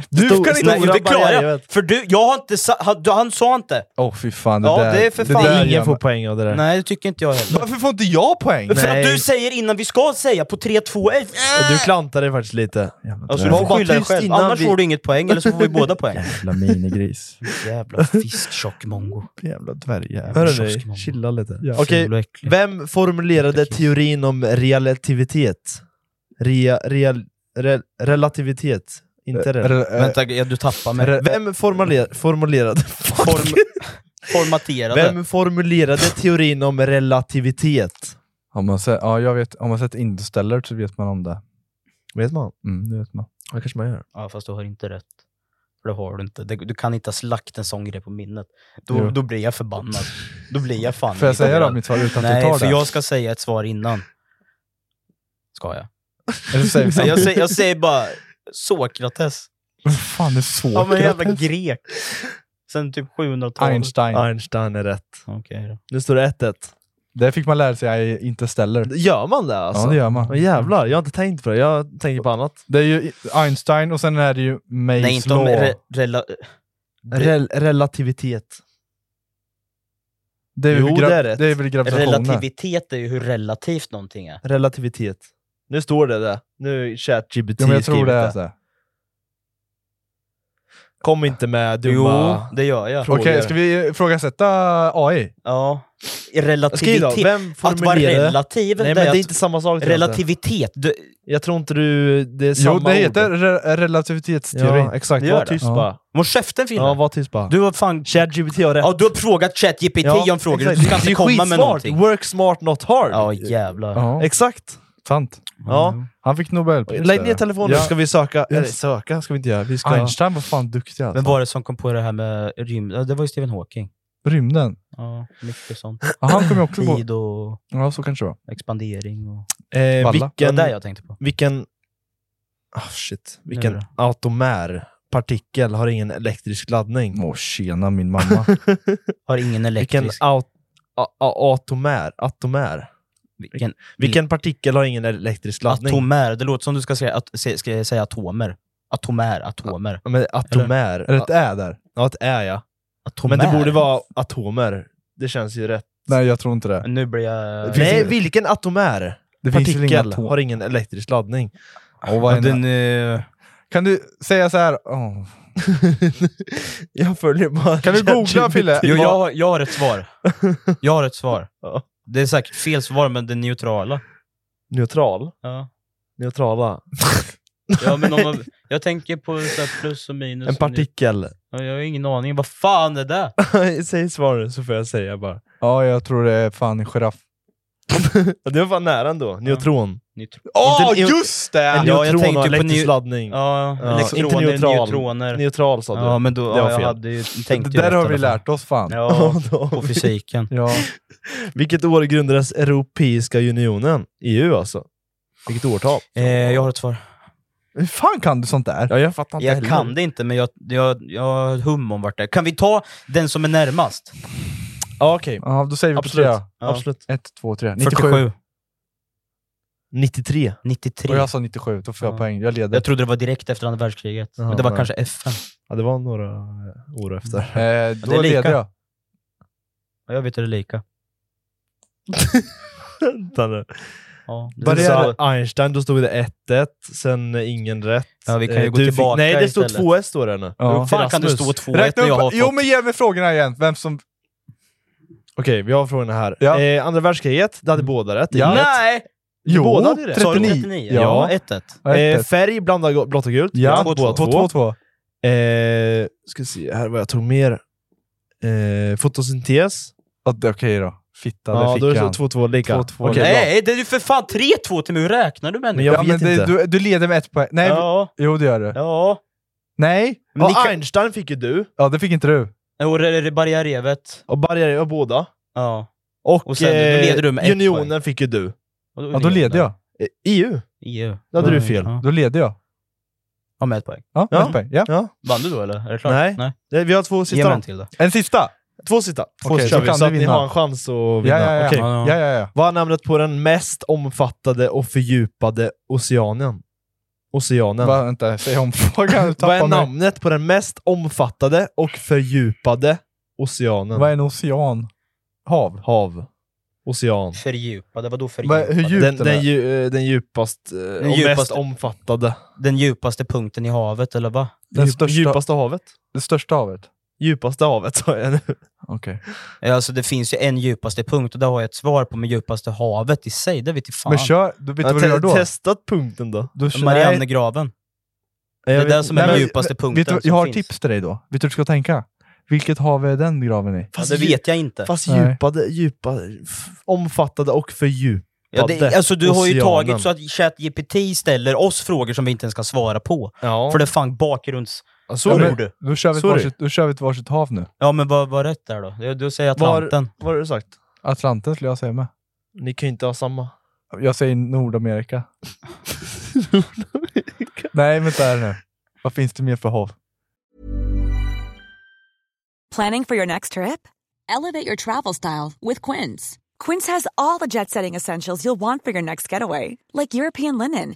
Du Stor- kan inte... Nej, Stora det klarar jag. barriärrevet. För du, jag har inte sa, han, han sa inte. Åh oh, fy fan, det Ja, där... det är för fan- där gör Ingen får mig- poäng av det där. Nej, det tycker inte jag heller. Varför får inte jag poäng? För Nej. att du säger innan vi ska säga på 3, 2, 1. Och Du klantar dig faktiskt lite. Alltså, du Var får bara skylla dig tyst själv, innan annars vi- får du inget poäng, eller så får vi båda poäng. Jävla minigris. Eh, Jävla fisktjock mongo. Jävla dvärgjävel. Hörru Kioskmamma. dig, chilla lite. Ja. Okej, Ful och äcklig. vem formulerade teorin om relativitet? Rea, real, re, relativitet? Eh, Inte rel. Vänta, ja, du tappar mig. Vem formuler, formulerade... Form, formaterade. Vem formulerade teorin om relativitet? Om man sett, ja, jag vet, om man sett Interstellar så vet man om det. Vet man? Mm, det vet man. Ja, kanske man gör. Ja, fast du har inte rätt. För det har du inte. Det- Du kan inte ha slagt en sån grej på minnet. Jo. Då, då blir jag förbannad. Då blir jag fan Får jag säga då irriterad. mitt svar utan att du Nej, tar för det? jag ska säga ett svar innan. Ska jag? Eller så säger vi Så jag, samtidigt. säger, jag säger bara Sokrates. Vad fan är så Ja, men jävla kräftigt? grek. Sen typ 700-talet. Einstein. Einstein är rätt. Okej då. Nu står det 1-1. Det fick man lära sig i Interstellar. Gör man det alltså? Ja, det gör man. Åh, jävlar, jag har inte tänkt på det. Jag tänker på annat. Det är ju i- Einstein och sen är det ju Mays Nej, inte om law. re, rela, Rel, relativitet. det, är Jo, väl gra- det är rätt. det är väl gravitationen? relativitet är ju hur relativt någonting är. Relativitet. Nu står det där. Nu är ChatGPT ja, men jag tror skrivit det är det. så. Kom inte med Jo, dumma... det gör jag. Frågor. Okej, ska vi ifrågasätta AI? Ja. Skriv då, Relativitet. vem Att vara formulerade... relativ, Nej men det det är är att- inte samma sak. tror jag inte. relativitet. Du, Jag tror inte du... Det är samma Jo, det heter ord. re- relativitetsteorin. Ja, exakt. Det gör Var det. tyst Ja. bara. må käften Fille! Ja, var tyst bara. du har fan... ChatGPT har rätt. Ja, du har frågat ChatGPT om frågor, exakt. du ska Det är inte ju komma med skitsmart. någonting. Work smart, not hard. Ja, jävlar. Ja, Exakt. sant. Ja. Han fick Nobelpriset. Lägg ner telefonen Ja. så ska vi söka. Ja. Eller söka ska vi inte göra. Vi ska... Einstein var fan duktig Vem alltså. var det som kom på det här med rymd? Ja, Det var ju Stephen Hawking. Rymden. Ja, mycket sånt. Ja, han kom ju också på... Tid och Ja, så kanske det var. expandering och... Eh, Valla. Det var vilken... det jag tänkte på. Vilken... ah shit. Nu Vilken då. atomär partikel har ingen elektrisk laddning? Åh, tjena min mamma. Har ingen Vilken Mm. elektrisk... aut, a, a, atomär, atomär? Vilken, Vilken partikel har ingen elektrisk laddning? atomär. Det låter som du ska säga, at, se- ska jag säga atomer. Atomär, atomer. Ja, Men atomär. Är det ett ä där? Ja, ett ä ja. Atomär. Men det borde vara atomer. Det känns ju rätt. Nej, jag tror inte det. Nu blir jag... finns Nej, ingen- vilken atomär Det finns väl partikel ingen atom? har ingen elektrisk laddning? Åh, vad är Den, en... eh, Kan du säga så här? Åh. jag följer bara... Kan du googla ChatGPT. Fille? Jo, jag, har- jag har ett svar. Jag har ett svar. Ja. Det är säkert fel svar, men det neutrala. Neutral? Ja. Neutrala? Ja, men om man, jag tänker på så här plus och minus. En och neut- partikel. Ja, Jag har ingen aning. Vad fan är det? Säg svaret så får jag säga bara. Ja, jag tror det är fan en giraff. det var fan nära ändå. Neutron. Åh, Inte- just det! Ja, En jag neutron tänkte och ju på elektrisk neu- laddning. Ja, elektroner, Inte neutral. neutroner. Neutral sa du. Ja, men då- det ja, var jag fel. hade ju tänkt det ju där rätt har vi i alla fall. lärt oss fan. Ja, det har på vi. fysiken. ja. Vilket år grundades Europeiska unionen? EU alltså. Vilket årtal? Eh, jag har ett svar. Hur fan kan du sånt där? Ja, jag fattar inte Jag heller. kan det inte, men jag, jag, jag har ett hum om vart det är. Kan vi ta den som är närmast? Ja, okej. Ja, då säger vi Absolut. på tre. Ja. Absolut. 1, 2, 3. 47. 93. 93. Och jag sa 97, då får jag Ja. poäng. Jag leder. Jag trodde det var direkt efter andra världskriget. men det var nej. kanske FN. Ja, det var några år efter. eh, det då är lika. leder jag. Ja, jag vet hur det är lika. Vänta nu. Ja, det är Varierade så. Einstein, då stod det 1-1, sen eh, ingen rätt. Ja, vi kan ju Eh, gå du tillbaka Nej, det stod istället. 2-1 står det nu. Ja. Fan kan det stå 2-1 när Räkna jag har upp. fått... Jo, men ge mig frågorna igen. Vem som... Okej, vi har frågorna här. Ja. Eh, andra världskriget, det hade båda rätt. Ja. Inget. Nej! Jo, båda hade rätt. 39. 39. Ja. Ja, 1-1. Eh, färg, blandad gå- blått och gult. Ja, Båda två. 2-2. Eh, ska se här vad jag tog mer. Eh, fotosyntes. Ja, det- Okej då. Fitta, Ja, det då är fick det han. 2-2 lika. 2-2. Okej, bra. Nej, det är ju för fan 3-2 till mig. Hur räknar du Men människa? jag ja, men vet det, inte. du, du leder med ett poäng. Nej, Ja, jo det gör du. ja. Nej! Men Ja, och Ein- Einstein fick ju du. Ja, det fick inte du. Och det är det barriärrevet. Och Barriere var båda. Ja. Och, Och sen, då leder du med ett Unionen poäng. fick ju du. E Eh, Ja, då leder jag. EU. Då hade du fel. Ja. Då leder jag. Ja, med ett poäng. Ja, Ja. ett poäng. Ja. Ja. Vann du då eller? Är det klart? Nej. Nej. Eh, Vi har två Ge mig sista. en till då. En sista! Två sista. Två Okej, sista. kör vi, Kan så du att ni vinna? har en chans att vinna. Ja, ja, ja. Okej. ja, ja, ja. Vad är namnet på den mest omfattande och fördjupade oceanen? Oceanen. Va, vänta, säg om frågan. Du Vad är tappar mig. namnet på den mest omfattade och fördjupade oceanen? Vad är en ocean? Hav? Hav. Ocean. Fördjupade, vadå Vad- fördjupade? hur djup Den, den, den, är? ju, eh, den djupaste eh, och mest djupaste. omfattade. Den djupaste punkten i havet eller vad? Den Djup- största- Djupaste havet. Det största havet? Djupaste havet sa jag nu. Okej. Ja, Alltså det finns ju en djupaste punkt och det har jag ett svar på med djupaste havet i sig. Det vet jag fan. Men kör, du vet Jag du vad du har gör te- då? testat punkten då. Du kör- Nej, Mariannegraven. Jag Det vet- är den som Nej, är men- den djupaste vet punkten som du, Jag har finns. tips till dig då. Vet du hur du ska tänka? Vilket hav är den graven i? Ja, Fast det djup- vet jag inte. Fast Nej. djupade, djupade, f- omfattade och fördjupade Ja, det, alltså du har ju oceanen. tagit så att ChatGPT ställer oss frågor som vi inte ens ska svara på. Ja. För det är fan bakgrunds... Ja, så Ja, är men- det. Då kör vi ett Sorry. varsitt- då kör vi ett varsitt hav nu. Ja men vad var rätt där då? Du, du säger Atlanten. Vad har du sagt? Atlanten skulle jag säga med. Ni kan ju inte ha samma. Jag säger Nordamerika. Nej, vänta här nu. Vad finns det mer för hav? Planning for your next trip? Elevate your travel style with Quince. Quince has all the jet setting essentials you'll want for your next getaway, like European linen,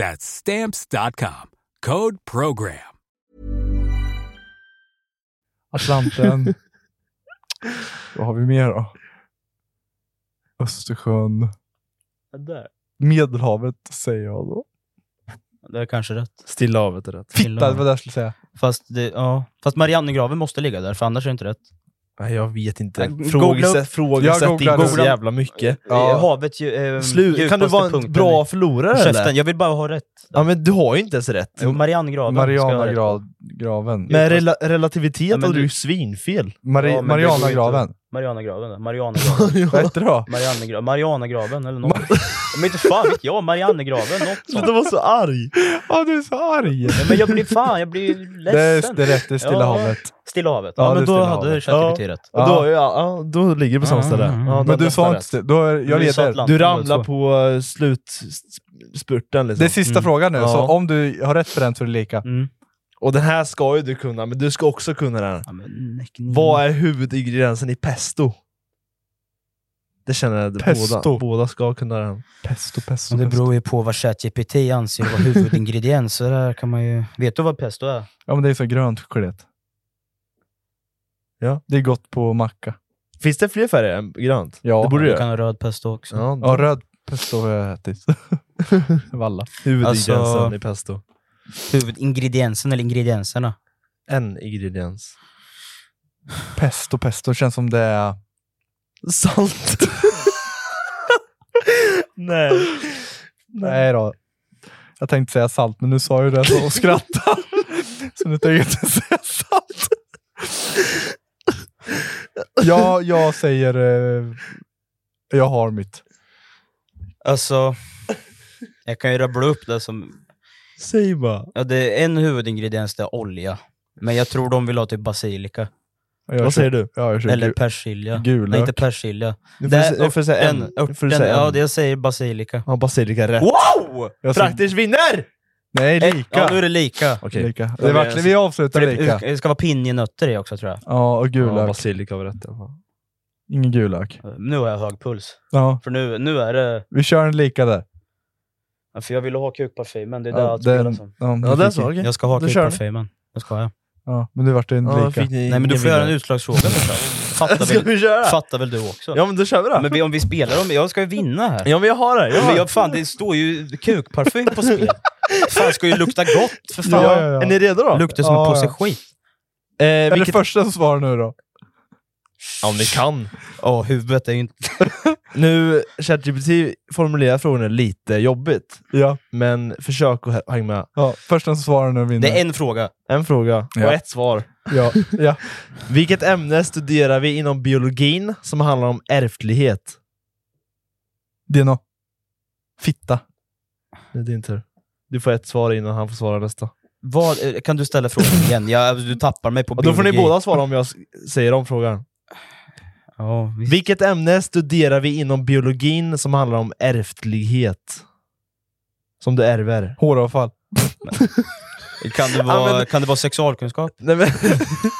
That's stamps.com. Code program. Atlanten. Vad har vi mer då? Östersjön. Där. Medelhavet säger jag då. Det är kanske rätt. Stilla havet är rätt. Stilla Fitta, det havet. var det jag skulle säga. Fast, det, ja. Fast Mariannegraven måste ligga där, för annars är det inte rätt. Nej, jag vet inte. Jag googlar Frågesätt, upp- frågesätt Jag googlar inte upp. så jävla mycket. Ja. Havet ju, ehm, Slut. Kan du djupaste vara en punkten bra i- förlorare Käften, eller? jag vill bara ha rätt. Ja, men du har ju inte ens rätt. Jo, Mariannegraven ska jag ha rätt på. Marianagraven. Med rela relativitet Ja, men hade du du- ju svinfel. Mari Ja, men det går inte. Marianagraven. Marianagraven, ja. Marianagraven. Vad heter det då? Mariannegra Marianagraven eller något. men inte fan vet jag, Mariannegraven, något sånt. Du var så arg. Ja, du är så arg. Nej, men jag blir fan, jag blir ledsen. Det är- det är rätt, det är Stilla havet. Stilla havet. Ja, Ja, det är men då Stilla hade havet. ChatGPT Ja. rätt. Ja. Då, ja, ja, då ligger det på samma Mm, ställe. mm, Ja, mm. då Men du nästan sa rätt. inte- då är- jag Du leder. sa Atlanten, Du ramlar på eh, slutspurten. Liksom. Det är sista Mm. frågan nu, så Ja. om du har rätt på den så är det lika. Och den här ska ju du kunna, men du ska också kunna den. Vad är huvudingrediensen i pesto? Det känner jag att Pesto. båda, båda ska kunna den. Pesto, pesto, Men det beror ju på vad ChatGPT anser vara huvudingredienser. Där kan man ju... Vet du vad pesto är? Ja, men det är så grönt choklad. Ja. Det är gott på macka. Finns det fler färger än grönt? Ja. det borde du det. kan ha röd pesto också. Ja, Ja, röd pesto har jag ätit. Valla. Huvudingrediensen Alltså- i pesto. Huvudingrediensen eller ingredienserna? En ingrediens. Pesto, pesto. Det känns som det är... Salt. Nej. Nej då. Jag tänkte säga salt, men nu sa jag ju det så och skrattade. så nu tänker jag inte säga salt. ja, jag säger... Eh, jag har mitt. Alltså, jag kan ju rabbla upp det som... Säg bara. Ja, det är en huvudingrediens det är olja. Men jag tror de vill ha typ basilika. Jag kör- Vad säger du? Ja, jag kör Eller gu- persilja. gulök. Nej, inte persilja. Nu får du se- nu får du säga en. örten- Nu får du säga Ja, en. det jag säger basilika. Ja, basilika rätt. Wow! Jag ser- Praktiskt vinner! Nej, lika. Ja, nu är det lika. Okej. lika. Det är verkligen, vi avslutar För det- lika. Det ska vara pinjenötter i också tror jag. Ja, och gul Ja, lök. basilika var rätt i alla fall. Ingen gul lök. Nu har jag hög puls. Ja, För nu, nu är det... vi kör en lika där. Ja, För jag ville ha kukparfymen, det är det Ja, allt spelar den, som. ja, Ja, du det fick- så. okej. Jag ska ha Då kör vi. kukparfymen. Det ska jag. ja, men nu vart det en Ja, lika. fick ni Nej men du ingen får göra en vinnare. utslagsfråga först. då. Fattar Ska väl, vi köra? fattar väl du också? Ja men då kör vi då. Men vi, om vi spelar om... Jag ska ju vinna här. ja men jag har det. Jag har Men det. jag, fan, det står ju kukparfym på spel. fan, ska ju lukta gott för fan. Ja, ja, ja. Är ni redo då? Luktar som Ja, en påse ja. skit. Eh, Eller vilket... första som svarar nu då. Ja, om ni kan. Ja, huvudet är ju inte... Nu, ChatGPT formulerar frågorna lite jobbigt. Ja. Men försök att hä- hänga med. ja första som svarar nu vinner. Det är en fråga. En fråga Ja. och ett svar. Ja, ja. Vilket ämne studerar vi inom biologin som handlar om ärftlighet? Det är nå. Fitta. Det är din tur. Du får ett svar innan han får svara nästa. Vad, eh, kan du ställa frågan igen? Jag, du tappar mig på Och då får ni biologi. båda svara om jag s- säger om frågan. Ja, visst. Vilket ämne studerar vi inom biologin som handlar om ärftlighet? Som du ärver. Håravfall. Kan det vara, Ja, men- kan det vara sexualkunskap? Nej, men,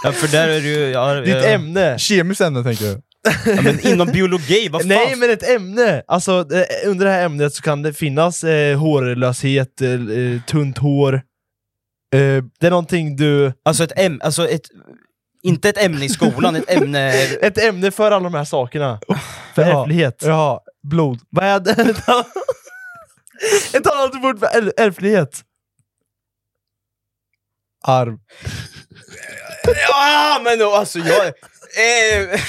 Ja, för där är det ju... Ja, ditt ja, ämne! Kemiskt ämne tänker du? ja, men inom biologi, vad fan? Nej, men ett ämne! Alltså, eh, under det här ämnet så kan det finnas eh, hårlöshet, eh, eh, tunt hår. Eh, det är någonting du... Alltså ett ämne... Alltså ett, inte ett ämne i skolan, ett ämne... Ett ämne för alla de här sakerna. för Jaha. ärftlighet. Jaha, blod. Vad är det? ett annat ord för är- ärftlighet. Arv. Ja, men då, alltså jag... Eh,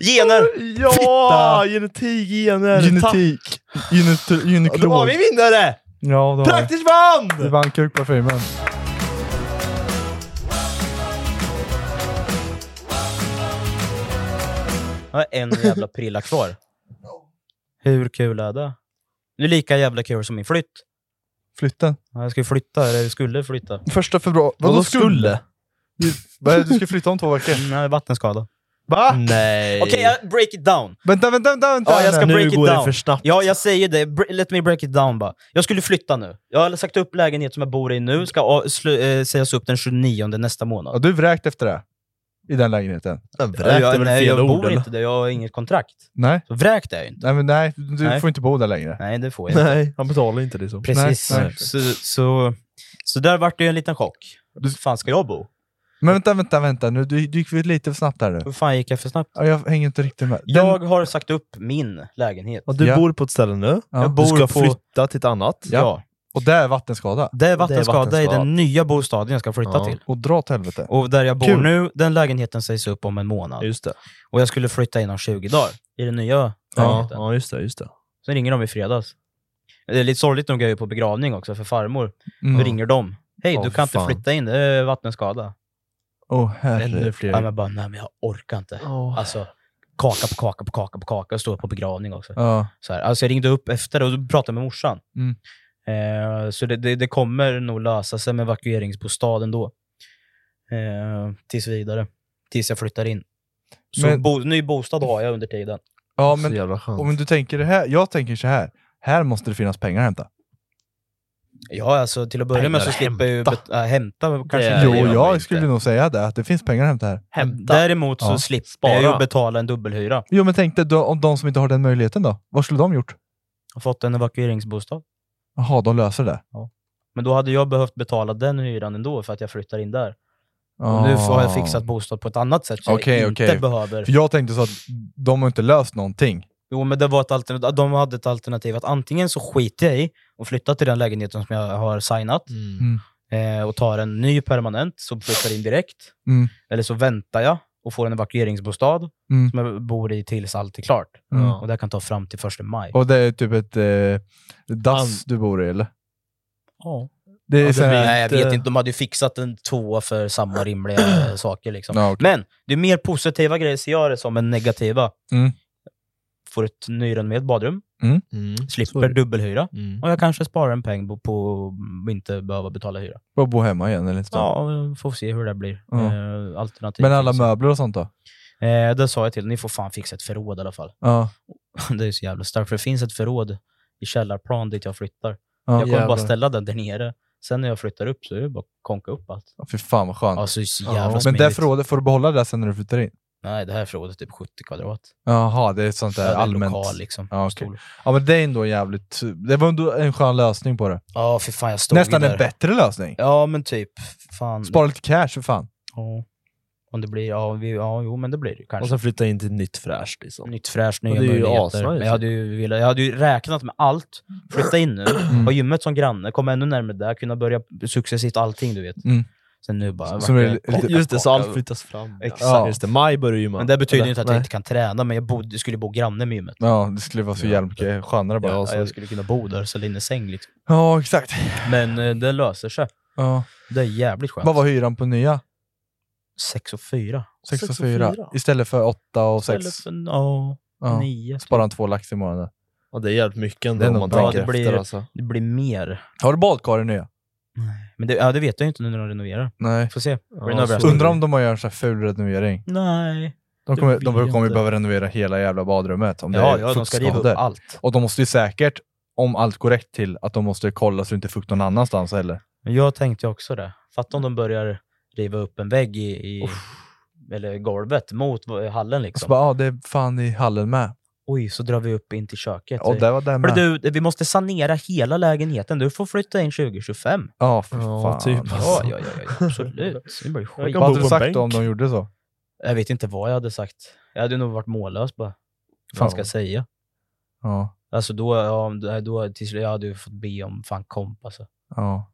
gener! Ja! Genetik, gener. Genetik. Gyne- Ta- Då har Gynekolog. vi vinnare! Ja, då har vi. Praktiskt vann! Vi vann kukparfymen. Jag har en jävla prilla kvar. Hur kul är det? Det är lika jävla kul som min flytt. Flytten. Ja, Jag ska ju flytta, eller jag skulle flytta. Första februari. Vadå skulle? Vad är det, Du ska flytta om två veckor. Nej, vattenskada. Va? Nej. Okej, jag break it down. Vänta, vänta, vänta. vänta. Ja, jag ska nu break it går det down. för snabbt. Ja, jag säger det. Br- Let me break it down bara. Jag skulle flytta nu. Jag har sagt upp lägenhet som jag bor i nu, ska a- slu- eh, sägas upp den 29 nästa Ja, månad. du vräkt efter det. I den lägenheten. Den vräkte jag, väl nej, fel jag ord, bor eller? inte där, jag har inget kontrakt. Nej, Så vräkt är jag ju inte. nej, men nej du Nej. får inte bo där längre. Nej, det får jag inte. Nej, han betalar inte liksom. Precis. Nej, nej. Så, så, så där vart det ju en liten chock. Var fan ska jag bo? Men vänta, vänta, vänta. Nu, du, du gick väl lite för snabbt där nu. Hur fan gick jag för snabbt? Ja, jag hänger inte riktigt med. Jag har sagt upp min lägenhet. Och du bor på ett ställe nu, Ja. jag Jag bor bor du ska på- flytta till ett annat. Ja. Ja. Och det är vattenskada. Det är vattenskada i den nya bostaden jag ska flytta Ja. till. Och dra åt helvete. Och där jag bor Kul. nu, den lägenheten sägs upp om en månad. Just det. Och jag skulle flytta inom 20 dagar i den nya Ja, lägenheten. ja, just det. Just det. Sen ringer de i fredags. Det är lite sorgligt nog, jag är ju på begravning också för farmor. Mm. Då ringer de. Hej, Åh, du kan fan. inte flytta in, det är vattenskada. Åh herre. Ännu fler. Ja, men bara, nej men jag orkar inte. Alltså, kaka på kaka på kaka på kaka och stå på begravning också. Ja. Så här. Alltså, jag ringde upp efter och då pratade jag med morsan. Mm. Eh, så det, det, det kommer nog lösa sig med evakueringsbostad ändå. Eh, tills vidare. Tills jag flyttar in. Så Men- bo, ny bostad har jag under tiden. Ja, Så men jävla skönt. om du tänker det här. Jag tänker så här. Här måste det finnas pengar att hämta. Ja, alltså till att börja med så Pengar slipper jag ju bet- äh, hämta. Kanske inte. jo, jag skulle nog säga det. Att det finns pengar att hämta här. Däremot så Ja. slipper jag Spara. ju betala en dubbelhyra. Jo, men tänk dig då, om de som inte har den möjligheten då? Vad skulle de gjort? Jag har fått en evakueringsbostad. Jaha, de löser det. Men då hade jag behövt betala den hyran ändå för att jag flyttar in där. Och nu Ah. har jag fixat bostad på ett annat sätt så jag inte behöver... För jag tänkte så att de har inte löst någonting. Jo, men det var ett alternativ. de hade ett alternativ att antingen så skiter jag i och flyttar till den lägenheten som jag har signat eh, och tar en ny permanent som flyttar in direkt. Mm. Eller så väntar jag och får en evakueringsbostad Mm. som jag bor i tills allt är klart. Mm. Och det kan ta fram till första maj. Och det är typ ett eh, dass du bor i eller? Ja. Det är Ja, så här blir- Nej, jag att, vet eh, inte. De hade ju fixat en tvåa för samma rimliga saker. Liksom. Ja, okej. Men det är mer positiva grejer ser jag det som än negativa. Mm. Får ett nyrenoverat badrum, Mm. slipper Så- dubbelhyra Mm. och jag kanske sparar en peng på- på att inte behöva betala hyra. Bara bo hemma igen eller inte? Ja, vi får se hur det blir. Ja. Eh, alternativ. Men alla finns. möbler och sånt då? Eh, det sa jag till ni får fan fixa ett förråd i alla fall. Ja. Det är så jävla starkt, för det finns ett förråd i källarplan dit jag flyttar. Ja, jag kommer jävlar. bara ställa den där nere. Sen när jag flyttar upp så är det bara att konka upp allt. Ja, Fy fan vad skönt. Ja, så är det så jävla Men smidigt. det förrådet, får du behålla det sen när du flyttar in? Nej, det här förrådet är typ 70 kvadrat. Jaha, det är ett sånt Ja, där det är en allmänt... lokal liksom. Ja, okej. ja, men det är ändå jävligt... Det var ändå en skön lösning på det. Ja, för fan jag stod Nästan ju där. en bättre lösning. Ja, men typ. Fan. Spara lite cash för fan. Ja. Om det blir, ja, vi, ja, jo men det blir det kanske. Och sen flytta in till nytt fräscht. Liksom. Nytt fräscht, Ja, nya det är ju möjligheter. asnice. Men jag hade, ju velat, jag hade ju räknat med allt. Flytta in nu, ha gymmet som granne, komma ännu närmare där, kunna börja successivt allting du vet. Mm. Sen nu bara... Så vart det är lite- just det, så allt flyttas fram. Exakt. Ja, just det. Maj börjar gymma. Men det betyder Eller? ju inte att Nej. jag inte kan träna, men jag bodde, skulle bo granne med gymmet. Ja, det skulle vara så jävla mycket skönare bara. Ja, jag skulle kunna bo där och sälja in en säng liksom. Ja, exakt. Men eh, det löser sig. Ja. Det är jävligt skönt. Vad var hyran på nya? 6 och 4. 6 och 4. Istället för 8 och 6. Istället för, ja, nio. Sparar han två lax i månaden. Ja, det är jävligt mycket ändå Det är om nog man bra. tänker det, blir, efter. Alltså. det blir mer. Har du badkar i nya? Men det, ja, det vet jag ju inte nu när de renoverar. Nej. Får se. Blir det en Ja, överraskning? Undrar om de har gjort en sån här ful renovering. Nej. De det kommer, vet de jag kommer ju inte. behöva renovera hela jävla badrummet om Ja, det är ja, de ska riva upp fuktskador. allt. Och de måste ju säkert, om allt går rätt till, att de måste kolla så det inte är fukt någon annanstans heller. Men Jag tänkte ju också det. Fatta om de börjar riva upp en vägg i, i eller golvet mot v- hallen Och så liksom. bara, ja, det är fan i hallen med. Oj, så drar vi upp in till köket. Och där var den Hörru, med. du, vi måste sanera hela lägenheten. Du får flytta in 2025. Ja, för Ja, fan. alltså. typ. Ja, ja, ja, ja, absolut. Det blir ju skit. Vad hade du sagt då om de gjorde så? Jag vet inte vad jag hade sagt. Jag hade nog varit mållös bara. Vad fan Fan. ska jag säga? Ja, Alltså då, ja, om- då till slut, jag hade ju fått be om fan komp alltså. ja.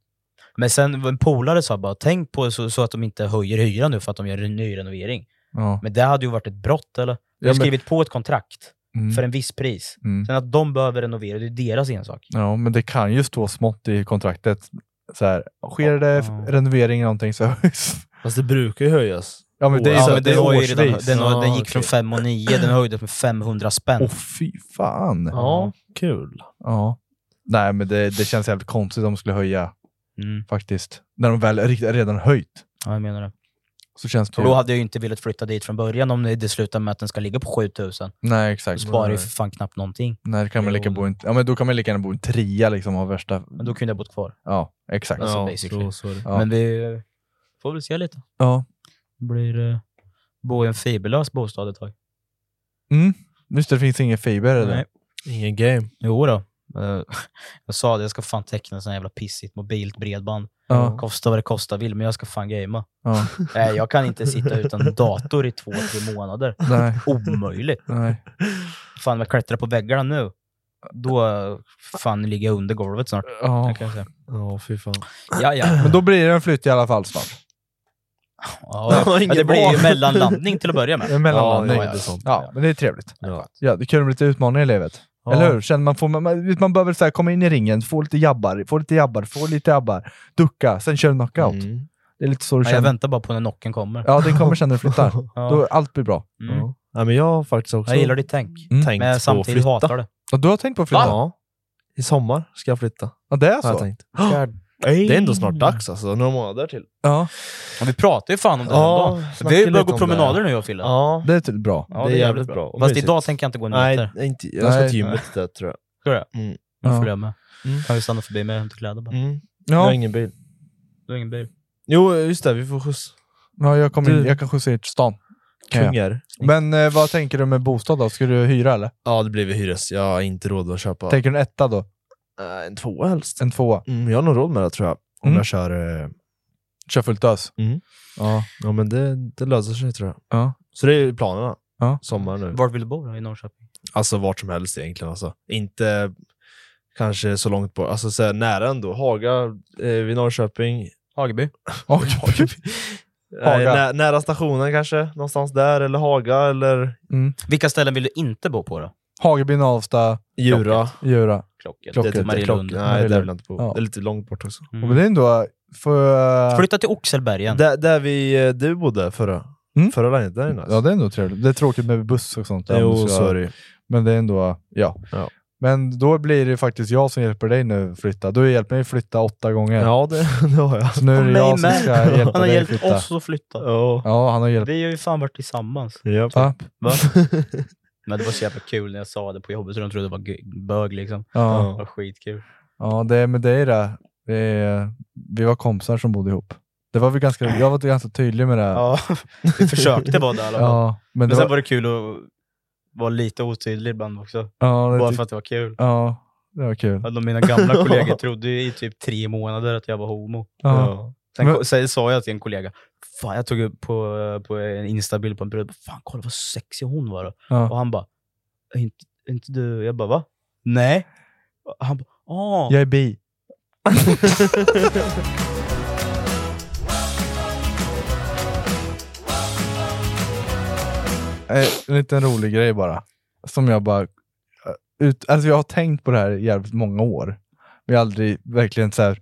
Men sen en polare sa bara, tänk på så, så att de inte höjer hyran nu för att de gör en ny renovering. Ja. Men det hade ju varit ett brott eller? Vi Ja, har men- skrivit på ett kontrakt Mm. för en viss pris. Mm. Sen att de behöver renovera, det är deras ensak. Ja, men det kan ju stå smått i kontraktet. Så här, sker det renovering eller någonting så Fast det brukar ju höjas. Ja, men det är ju ja, så men att det är var ju redan, årsvis. den, har- Ja, den gick okej. från 5 och 9, den höjdes med 500 spänn. Åh fy fan. Ja, kul. Ja. Nej, men det, det känns jävligt konstigt om de skulle höja. Mm. Faktiskt. När de väl rikt- redan höjt. Ja, jag menar det. Så känns det Och ju... då hade jag ju inte velat flytta dit från början om det slutar med att den ska ligga på 7000. Nej, exakt. Då sparar ju Nej. för fan knappt någonting. Nej, det kan man lika bo i en... Ja, men då kan man lika gärna bo i en trea liksom av värsta... Men då kunde jag bott kvar. Ja, exakt. Alltså, ja, basically. Ja. Men vi eh, får väl se lite. Ja. Blir eh, bo i en fiberlös bostad ett tag. Mm. Just det, det finns ingen fiber eller? Nej. Ingen game. Jo då. Eh, Jag sa det, jag ska fan teckna sån här jävla pissigt mobilt bredband. Ja. Kosta vad det kosta vill, men jag ska fan gamea. Ja. Nej, Eh, jag kan inte sitta utan dator i två, tre månader. Nej. Omöjligt. Nej. Fan, jag klättrar på väggarna nu. Då eh, fan ligger jag under golvet snart. Ja. Det kan jag säga. Ja, fy fan. Ja, ja. Men då blir det en flytt i alla fall snart. Ja, ja, det blir ju mellanlandning till att börja med. En mellanlandning. Ja, Ja, det är sant. men det är trevligt. Ja. det kul med lite utmaningar i livet. Ja. Eller hur? Känner man, får, man, man man behöver så här, komma in i ringen, få lite jabbar, få lite jabbar, få lite jabbar, ducka, sen kör knockout. Mm. Det är lite så du Ja, jag känner. väntar bara på när knocken kommer. Ja, den kommer sen när du flyttar. Ja. Då allt blir bra. Mm. Ja. Ja, men jag har faktiskt också Jag gillar ditt tänk. Mm. Men jag samtidigt hatar det. Ja, du har tänkt på att flytta? Ja. I sommar ska jag flytta. Ja, det är Har jag så? tänkt. God. Det är ändå snart dags alltså, några månader till. Ja. Ja, vi pratar ju fan om det här Ja, om dagen. Vi snacka har ju börjat lite gå om promenader det. nu jag och Fille. Ja. Det är typ bra. Ja, det är jävligt bra. Och Fast mysigt. idag tänker jag inte gå en Nej, meter. inte, jag ska Nej. till gymmet där tror jag. Ska du det? Mm. Då Ja. följer jag med. Kan vi stanna förbi med hämta kläder bara? Mm. Ja. Jag har ingen bil. Du har ingen bil. Jo, just det, vi får skjuts. Ja, jag, kommer in, Du- jag kan skjutsa er till stan. Kan jag. Kungar. Men eh, vad tänker du med bostad då? Ska du hyra eller? Ja, det blir väl hyres. Jag har inte råd att köpa. Tänker du en etta då? Eh, en tvåa helst. En tvåa? Mm, jag har nog råd med det tror jag. Om Mm. jag kör... Eh... Kör fullt ös? Mm. Ja. Ja, men det, det löser sig tror jag. Ja. Så det är ju planerna. Ja. Sommar nu. Vart vill du bo då? I Norrköping? Alltså vart som helst egentligen. Alltså. Inte kanske så långt bort. Alltså så här, nära ändå. Haga eh, vid Norrköping. Hageby? Och, Nej, Haga. nä, nära stationen kanske. Någonstans där. Eller Haga eller mm. Vilka ställen vill du inte bo på då? Hageby, Navsta, Djura. Djura. Klocket. Klocket. Det är typ Marielund. Klock- Nej, där vill jag inte bo. Ja. Det är lite långt bort också. Mm. Mm. Men det är ändå... För, Flytta till Oxelberg igen. Där, där vi, eh, du bodde förra, Mm. förra lägenheten. Där är nice. Ja, det är ändå trevligt. Det är tråkigt med buss och sånt. där, om du Jo, ska- så är det ju. Men det är ändå, ja. Ja. Men då blir det faktiskt jag som hjälper dig nu flytta. Du har hjälpt mig flytta åtta gånger. Ja, det, det har jag. Så nu är det Mig jag som med. ska hjälpa Han har dig hjälpt flytta. oss att flytta. Ja. Ja, han har hjälpt. Vi har ju fan varit tillsammans. Japp. Va? Va? Men det var så jävla kul när jag sa det på jobbet, så de trodde det var gu- bög liksom. Ja, Det var skitkul. ja det, men det är det. det är, vi var kompisar som bodde ihop. Det var vi ganska, jag var ganska tydlig med det. Ja, vi försökte vara där i alla fall. Ja, men Men det sen var, var det kul att vara lite otydlig ibland också. ja, det, Bara tyck- för att det var kul. ja, det var kul. Alla mina gamla kollegor trodde ju i typ tre månader att jag var homo. Ja. Sen, Men- ko- sen sa jag till en kollega, fan jag tog upp på, på en instabild på en brud, fan kolla vad sexig hon var. då." Och Ja. han bara, "Är inte, är inte du? Jag bara, va? Nej. Och Han bara, ah. Jag är bi. Eh, En liten rolig grej bara. Som jag bara... eh, Ut, alltså jag har tänkt på det här i jävligt många år. Men jag har aldrig verkligen så här...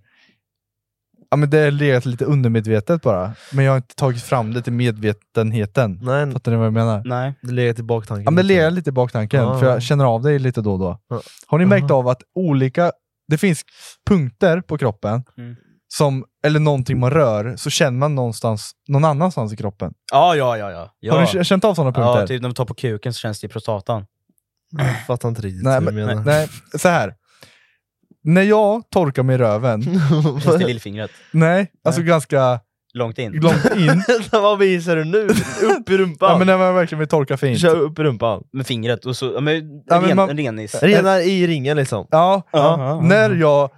Ja, men det har legat lite undermedvetet bara. Men jag har inte tagit fram det till Mm. medvetenheten. Nej, Fattar ni vad jag menar? Nej. det ligger till baktanken. Ja, men det legar lite i baktanken, Ja. för jag känner av dig lite då och då. Ja. Har ni märkt Aha. av att olika... Det finns punkter på kroppen, Mm. som, eller någonting man rör, så känner man någonstans, någon annanstans i kroppen. Ja, ja, ja. ja. ja. Har ni k- känt av sådana punkter? Ja, typ när man tar på kuken så känns det i prostatan. Jag fattar inte riktigt Nej, hur du men, menar. nej, nej, så här. När jag torkar mig i Mm. röven, Känns det i lillfingret. nej, alltså ganska Långt in. långt in. Vad visar du nu? Upp i rumpan! ja, men när man verkligen vill torka fint. Kör upp i rumpan. Med fingret. Och så, ja, men, Ja, men ren, man- renis. Renar i ringen liksom. Ja, Ja. när jag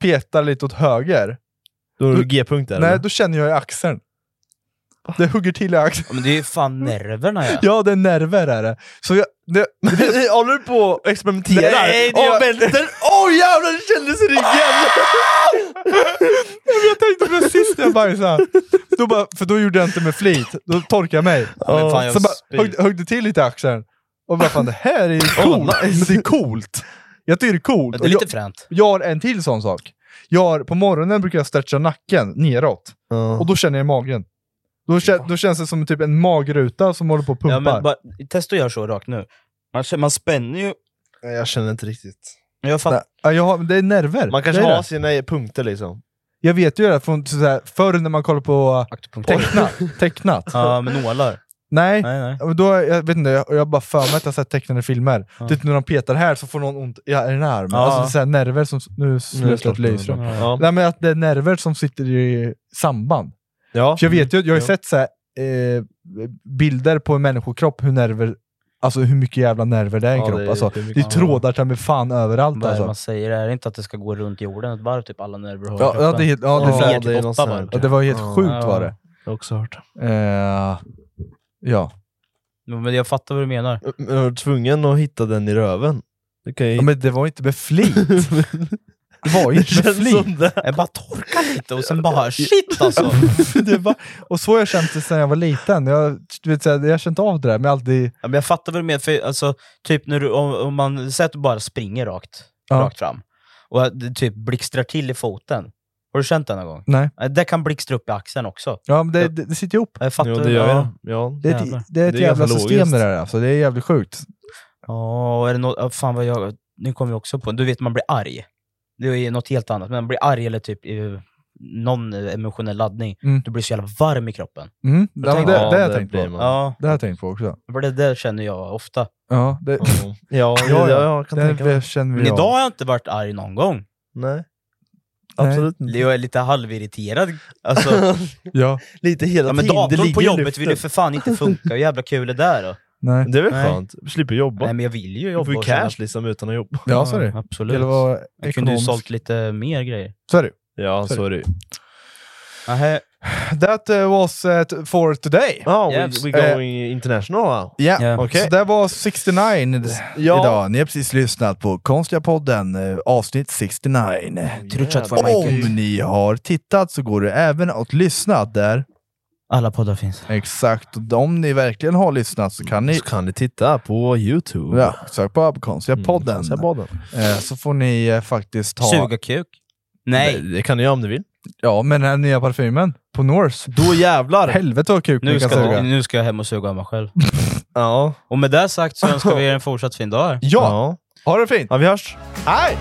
petar lite åt höger, Då är Du- du G-punkter? nej, eller? då känner jag i axeln. Det hugger till i axeln. Ja, men det är ju fan nerverna ja. Ja, det är nerver är det. Så jag, det, Håller du på och experimenterar? Nej, det Åh, gör- vänster! Åh jävlar, det kändes i ryggen! jag tänkte på det sist när jag bajsade. Då bara, för då gjorde jag inte med flit. Då torkade jag mig. men fan, jag så spyr. bara, högg, högg det till lite i axeln. Och bara, fan det här är ju coolt. Men det är coolt. Jag tycker det är coolt. Det är Och lite jag, fränt. jag har en till sån sak. Jag har, på morgonen brukar jag stretcha nacken neråt. Och då känner jag i magen. Då, kä- då känns det som typ en magruta som håller på och pumpar. Ja, men, bara, testa att göra så rakt nu. Man, känner- man spänner ju... Nej, jag känner inte riktigt. Jag fatt, Nej, ja, jag har, det är nerver. Man kanske det är har det. sina punkter liksom. Jag vet ju det från sådär, förr när man kollar på akupunktur. tecknat. tecknat. Ja, med nålar. Nej, Nej, nej. Ja, men Då, jag vet inte, jag, jag har bara för mig att jag har sett tecknade filmer. Typ när de petar här så får någon ont i den här armen. Ja. Alltså det är så här nerver som... Nu slutar ett lyser. Ja. Nej men att det är nerver som sitter i samband. Ja. För jag vet ju, jag har ju Ja. sett så här, eh, bilder på en människokropp hur nerver Alltså hur mycket jävla nerver det är i Ja, en kropp. det är- Det är, alltså, det är det är mycket. trådar som är fan överallt Vad är det man alltså. säger? Är det inte att det ska gå runt jorden ett varv, typ alla nerver och Ja, ja, det, är helt- ja, det, är ja, det, typ åtta varv. ja, det var helt Ja. sjukt var det. Jag har också hört. Eh, ja. Men jag fattar vad du menar. Men Jag var tvungen att hitta den i röven. Du kan ju... men det var inte med flit. det var ju inte med flit. Jag bara torkar lite och sen bara shit alltså. det var, och så har jag känt det sedan jag var liten. Jag, du vet, så här, jag har känt av det där, men alltid... Ja, men jag fattar vad du menar, för alltså, typ när du, om, om man säger att du bara springer rakt, Ja. rakt fram, och att det typ blixtrar till i foten. Har du känt det någon gång? Nej. Ja, Det kan blixtra upp i axeln också. Ja, men det, det, det sitter ihop. Jag fattar. Jo, det gör det. Ja, det, är Äh, jävlar. ett, det är ett Det är jävla ganska system logiskt. det där. Alltså. Det är jävligt sjukt. Ja, och är det något, ja, fan vad jag, nu kommer jag också på, du vet man blir arg. Det är ju något helt annat, men man blir arg eller typ eh, någon emotionell laddning. Mm. Du blir så jävla varm i kroppen. Mm. Jag Ja, men tänker- det, det har jag tänkt på. blir man. Ja, Det har jag tänkt på också. för det där känner jag ofta. Ja, det, ja, ja, jag kan det, tänka det mig. känner Men vi av. idag har jag inte varit arg någon gång. Nej. Nej. Absolut inte. Jag är lite halvirriterad. Alltså, Ja. Lite hela ja, men tiden. Det datorn ligger på i jobbet luften. vill ju för fan inte funka. Hur jävla kul är det där då? Nej. Det är väl Nej. skönt? Slipper jobba. Nej men jag vill ju Du jobba. får ju och tjäna- cash liksom utan att jobba. Ja, så är det. Absolut. Eller vara Jag kunde ju ekonomisk. sålt lite mer grejer. Så är det. Ja, så är det ju. Aha. That uh, was uh, t- for today. Oh, we, Yes. we Eh, going international va? Ja, Ja. Okej. så det var 69 i- Ja. idag. Ni har precis lyssnat på Konstiga podden, eh, avsnitt 69. Trutchat för Michael. Om ni har tittat så går det även att lyssna där. Alla poddar finns. Exakt, och om ni verkligen har lyssnat så kan ni... Så kan ni titta på Youtube. Ja, sök på Konstiga Mm, podden. Konstiga podden. Eh, Så får ni eh, faktiskt ta... Suga kuk. Nej, Det, det kan ni göra om ni vill. Ja, men den här nya parfymen på Norse. Då jävlar! Helvete vad kuk Mm. nu ni kan ska, suga. nu ska jag hem och suga av mig själv. Ja. Och med det sagt så önskar vi er en fortsatt fin dag. Ja, ha det fint! Ja, vi hörs. Hej!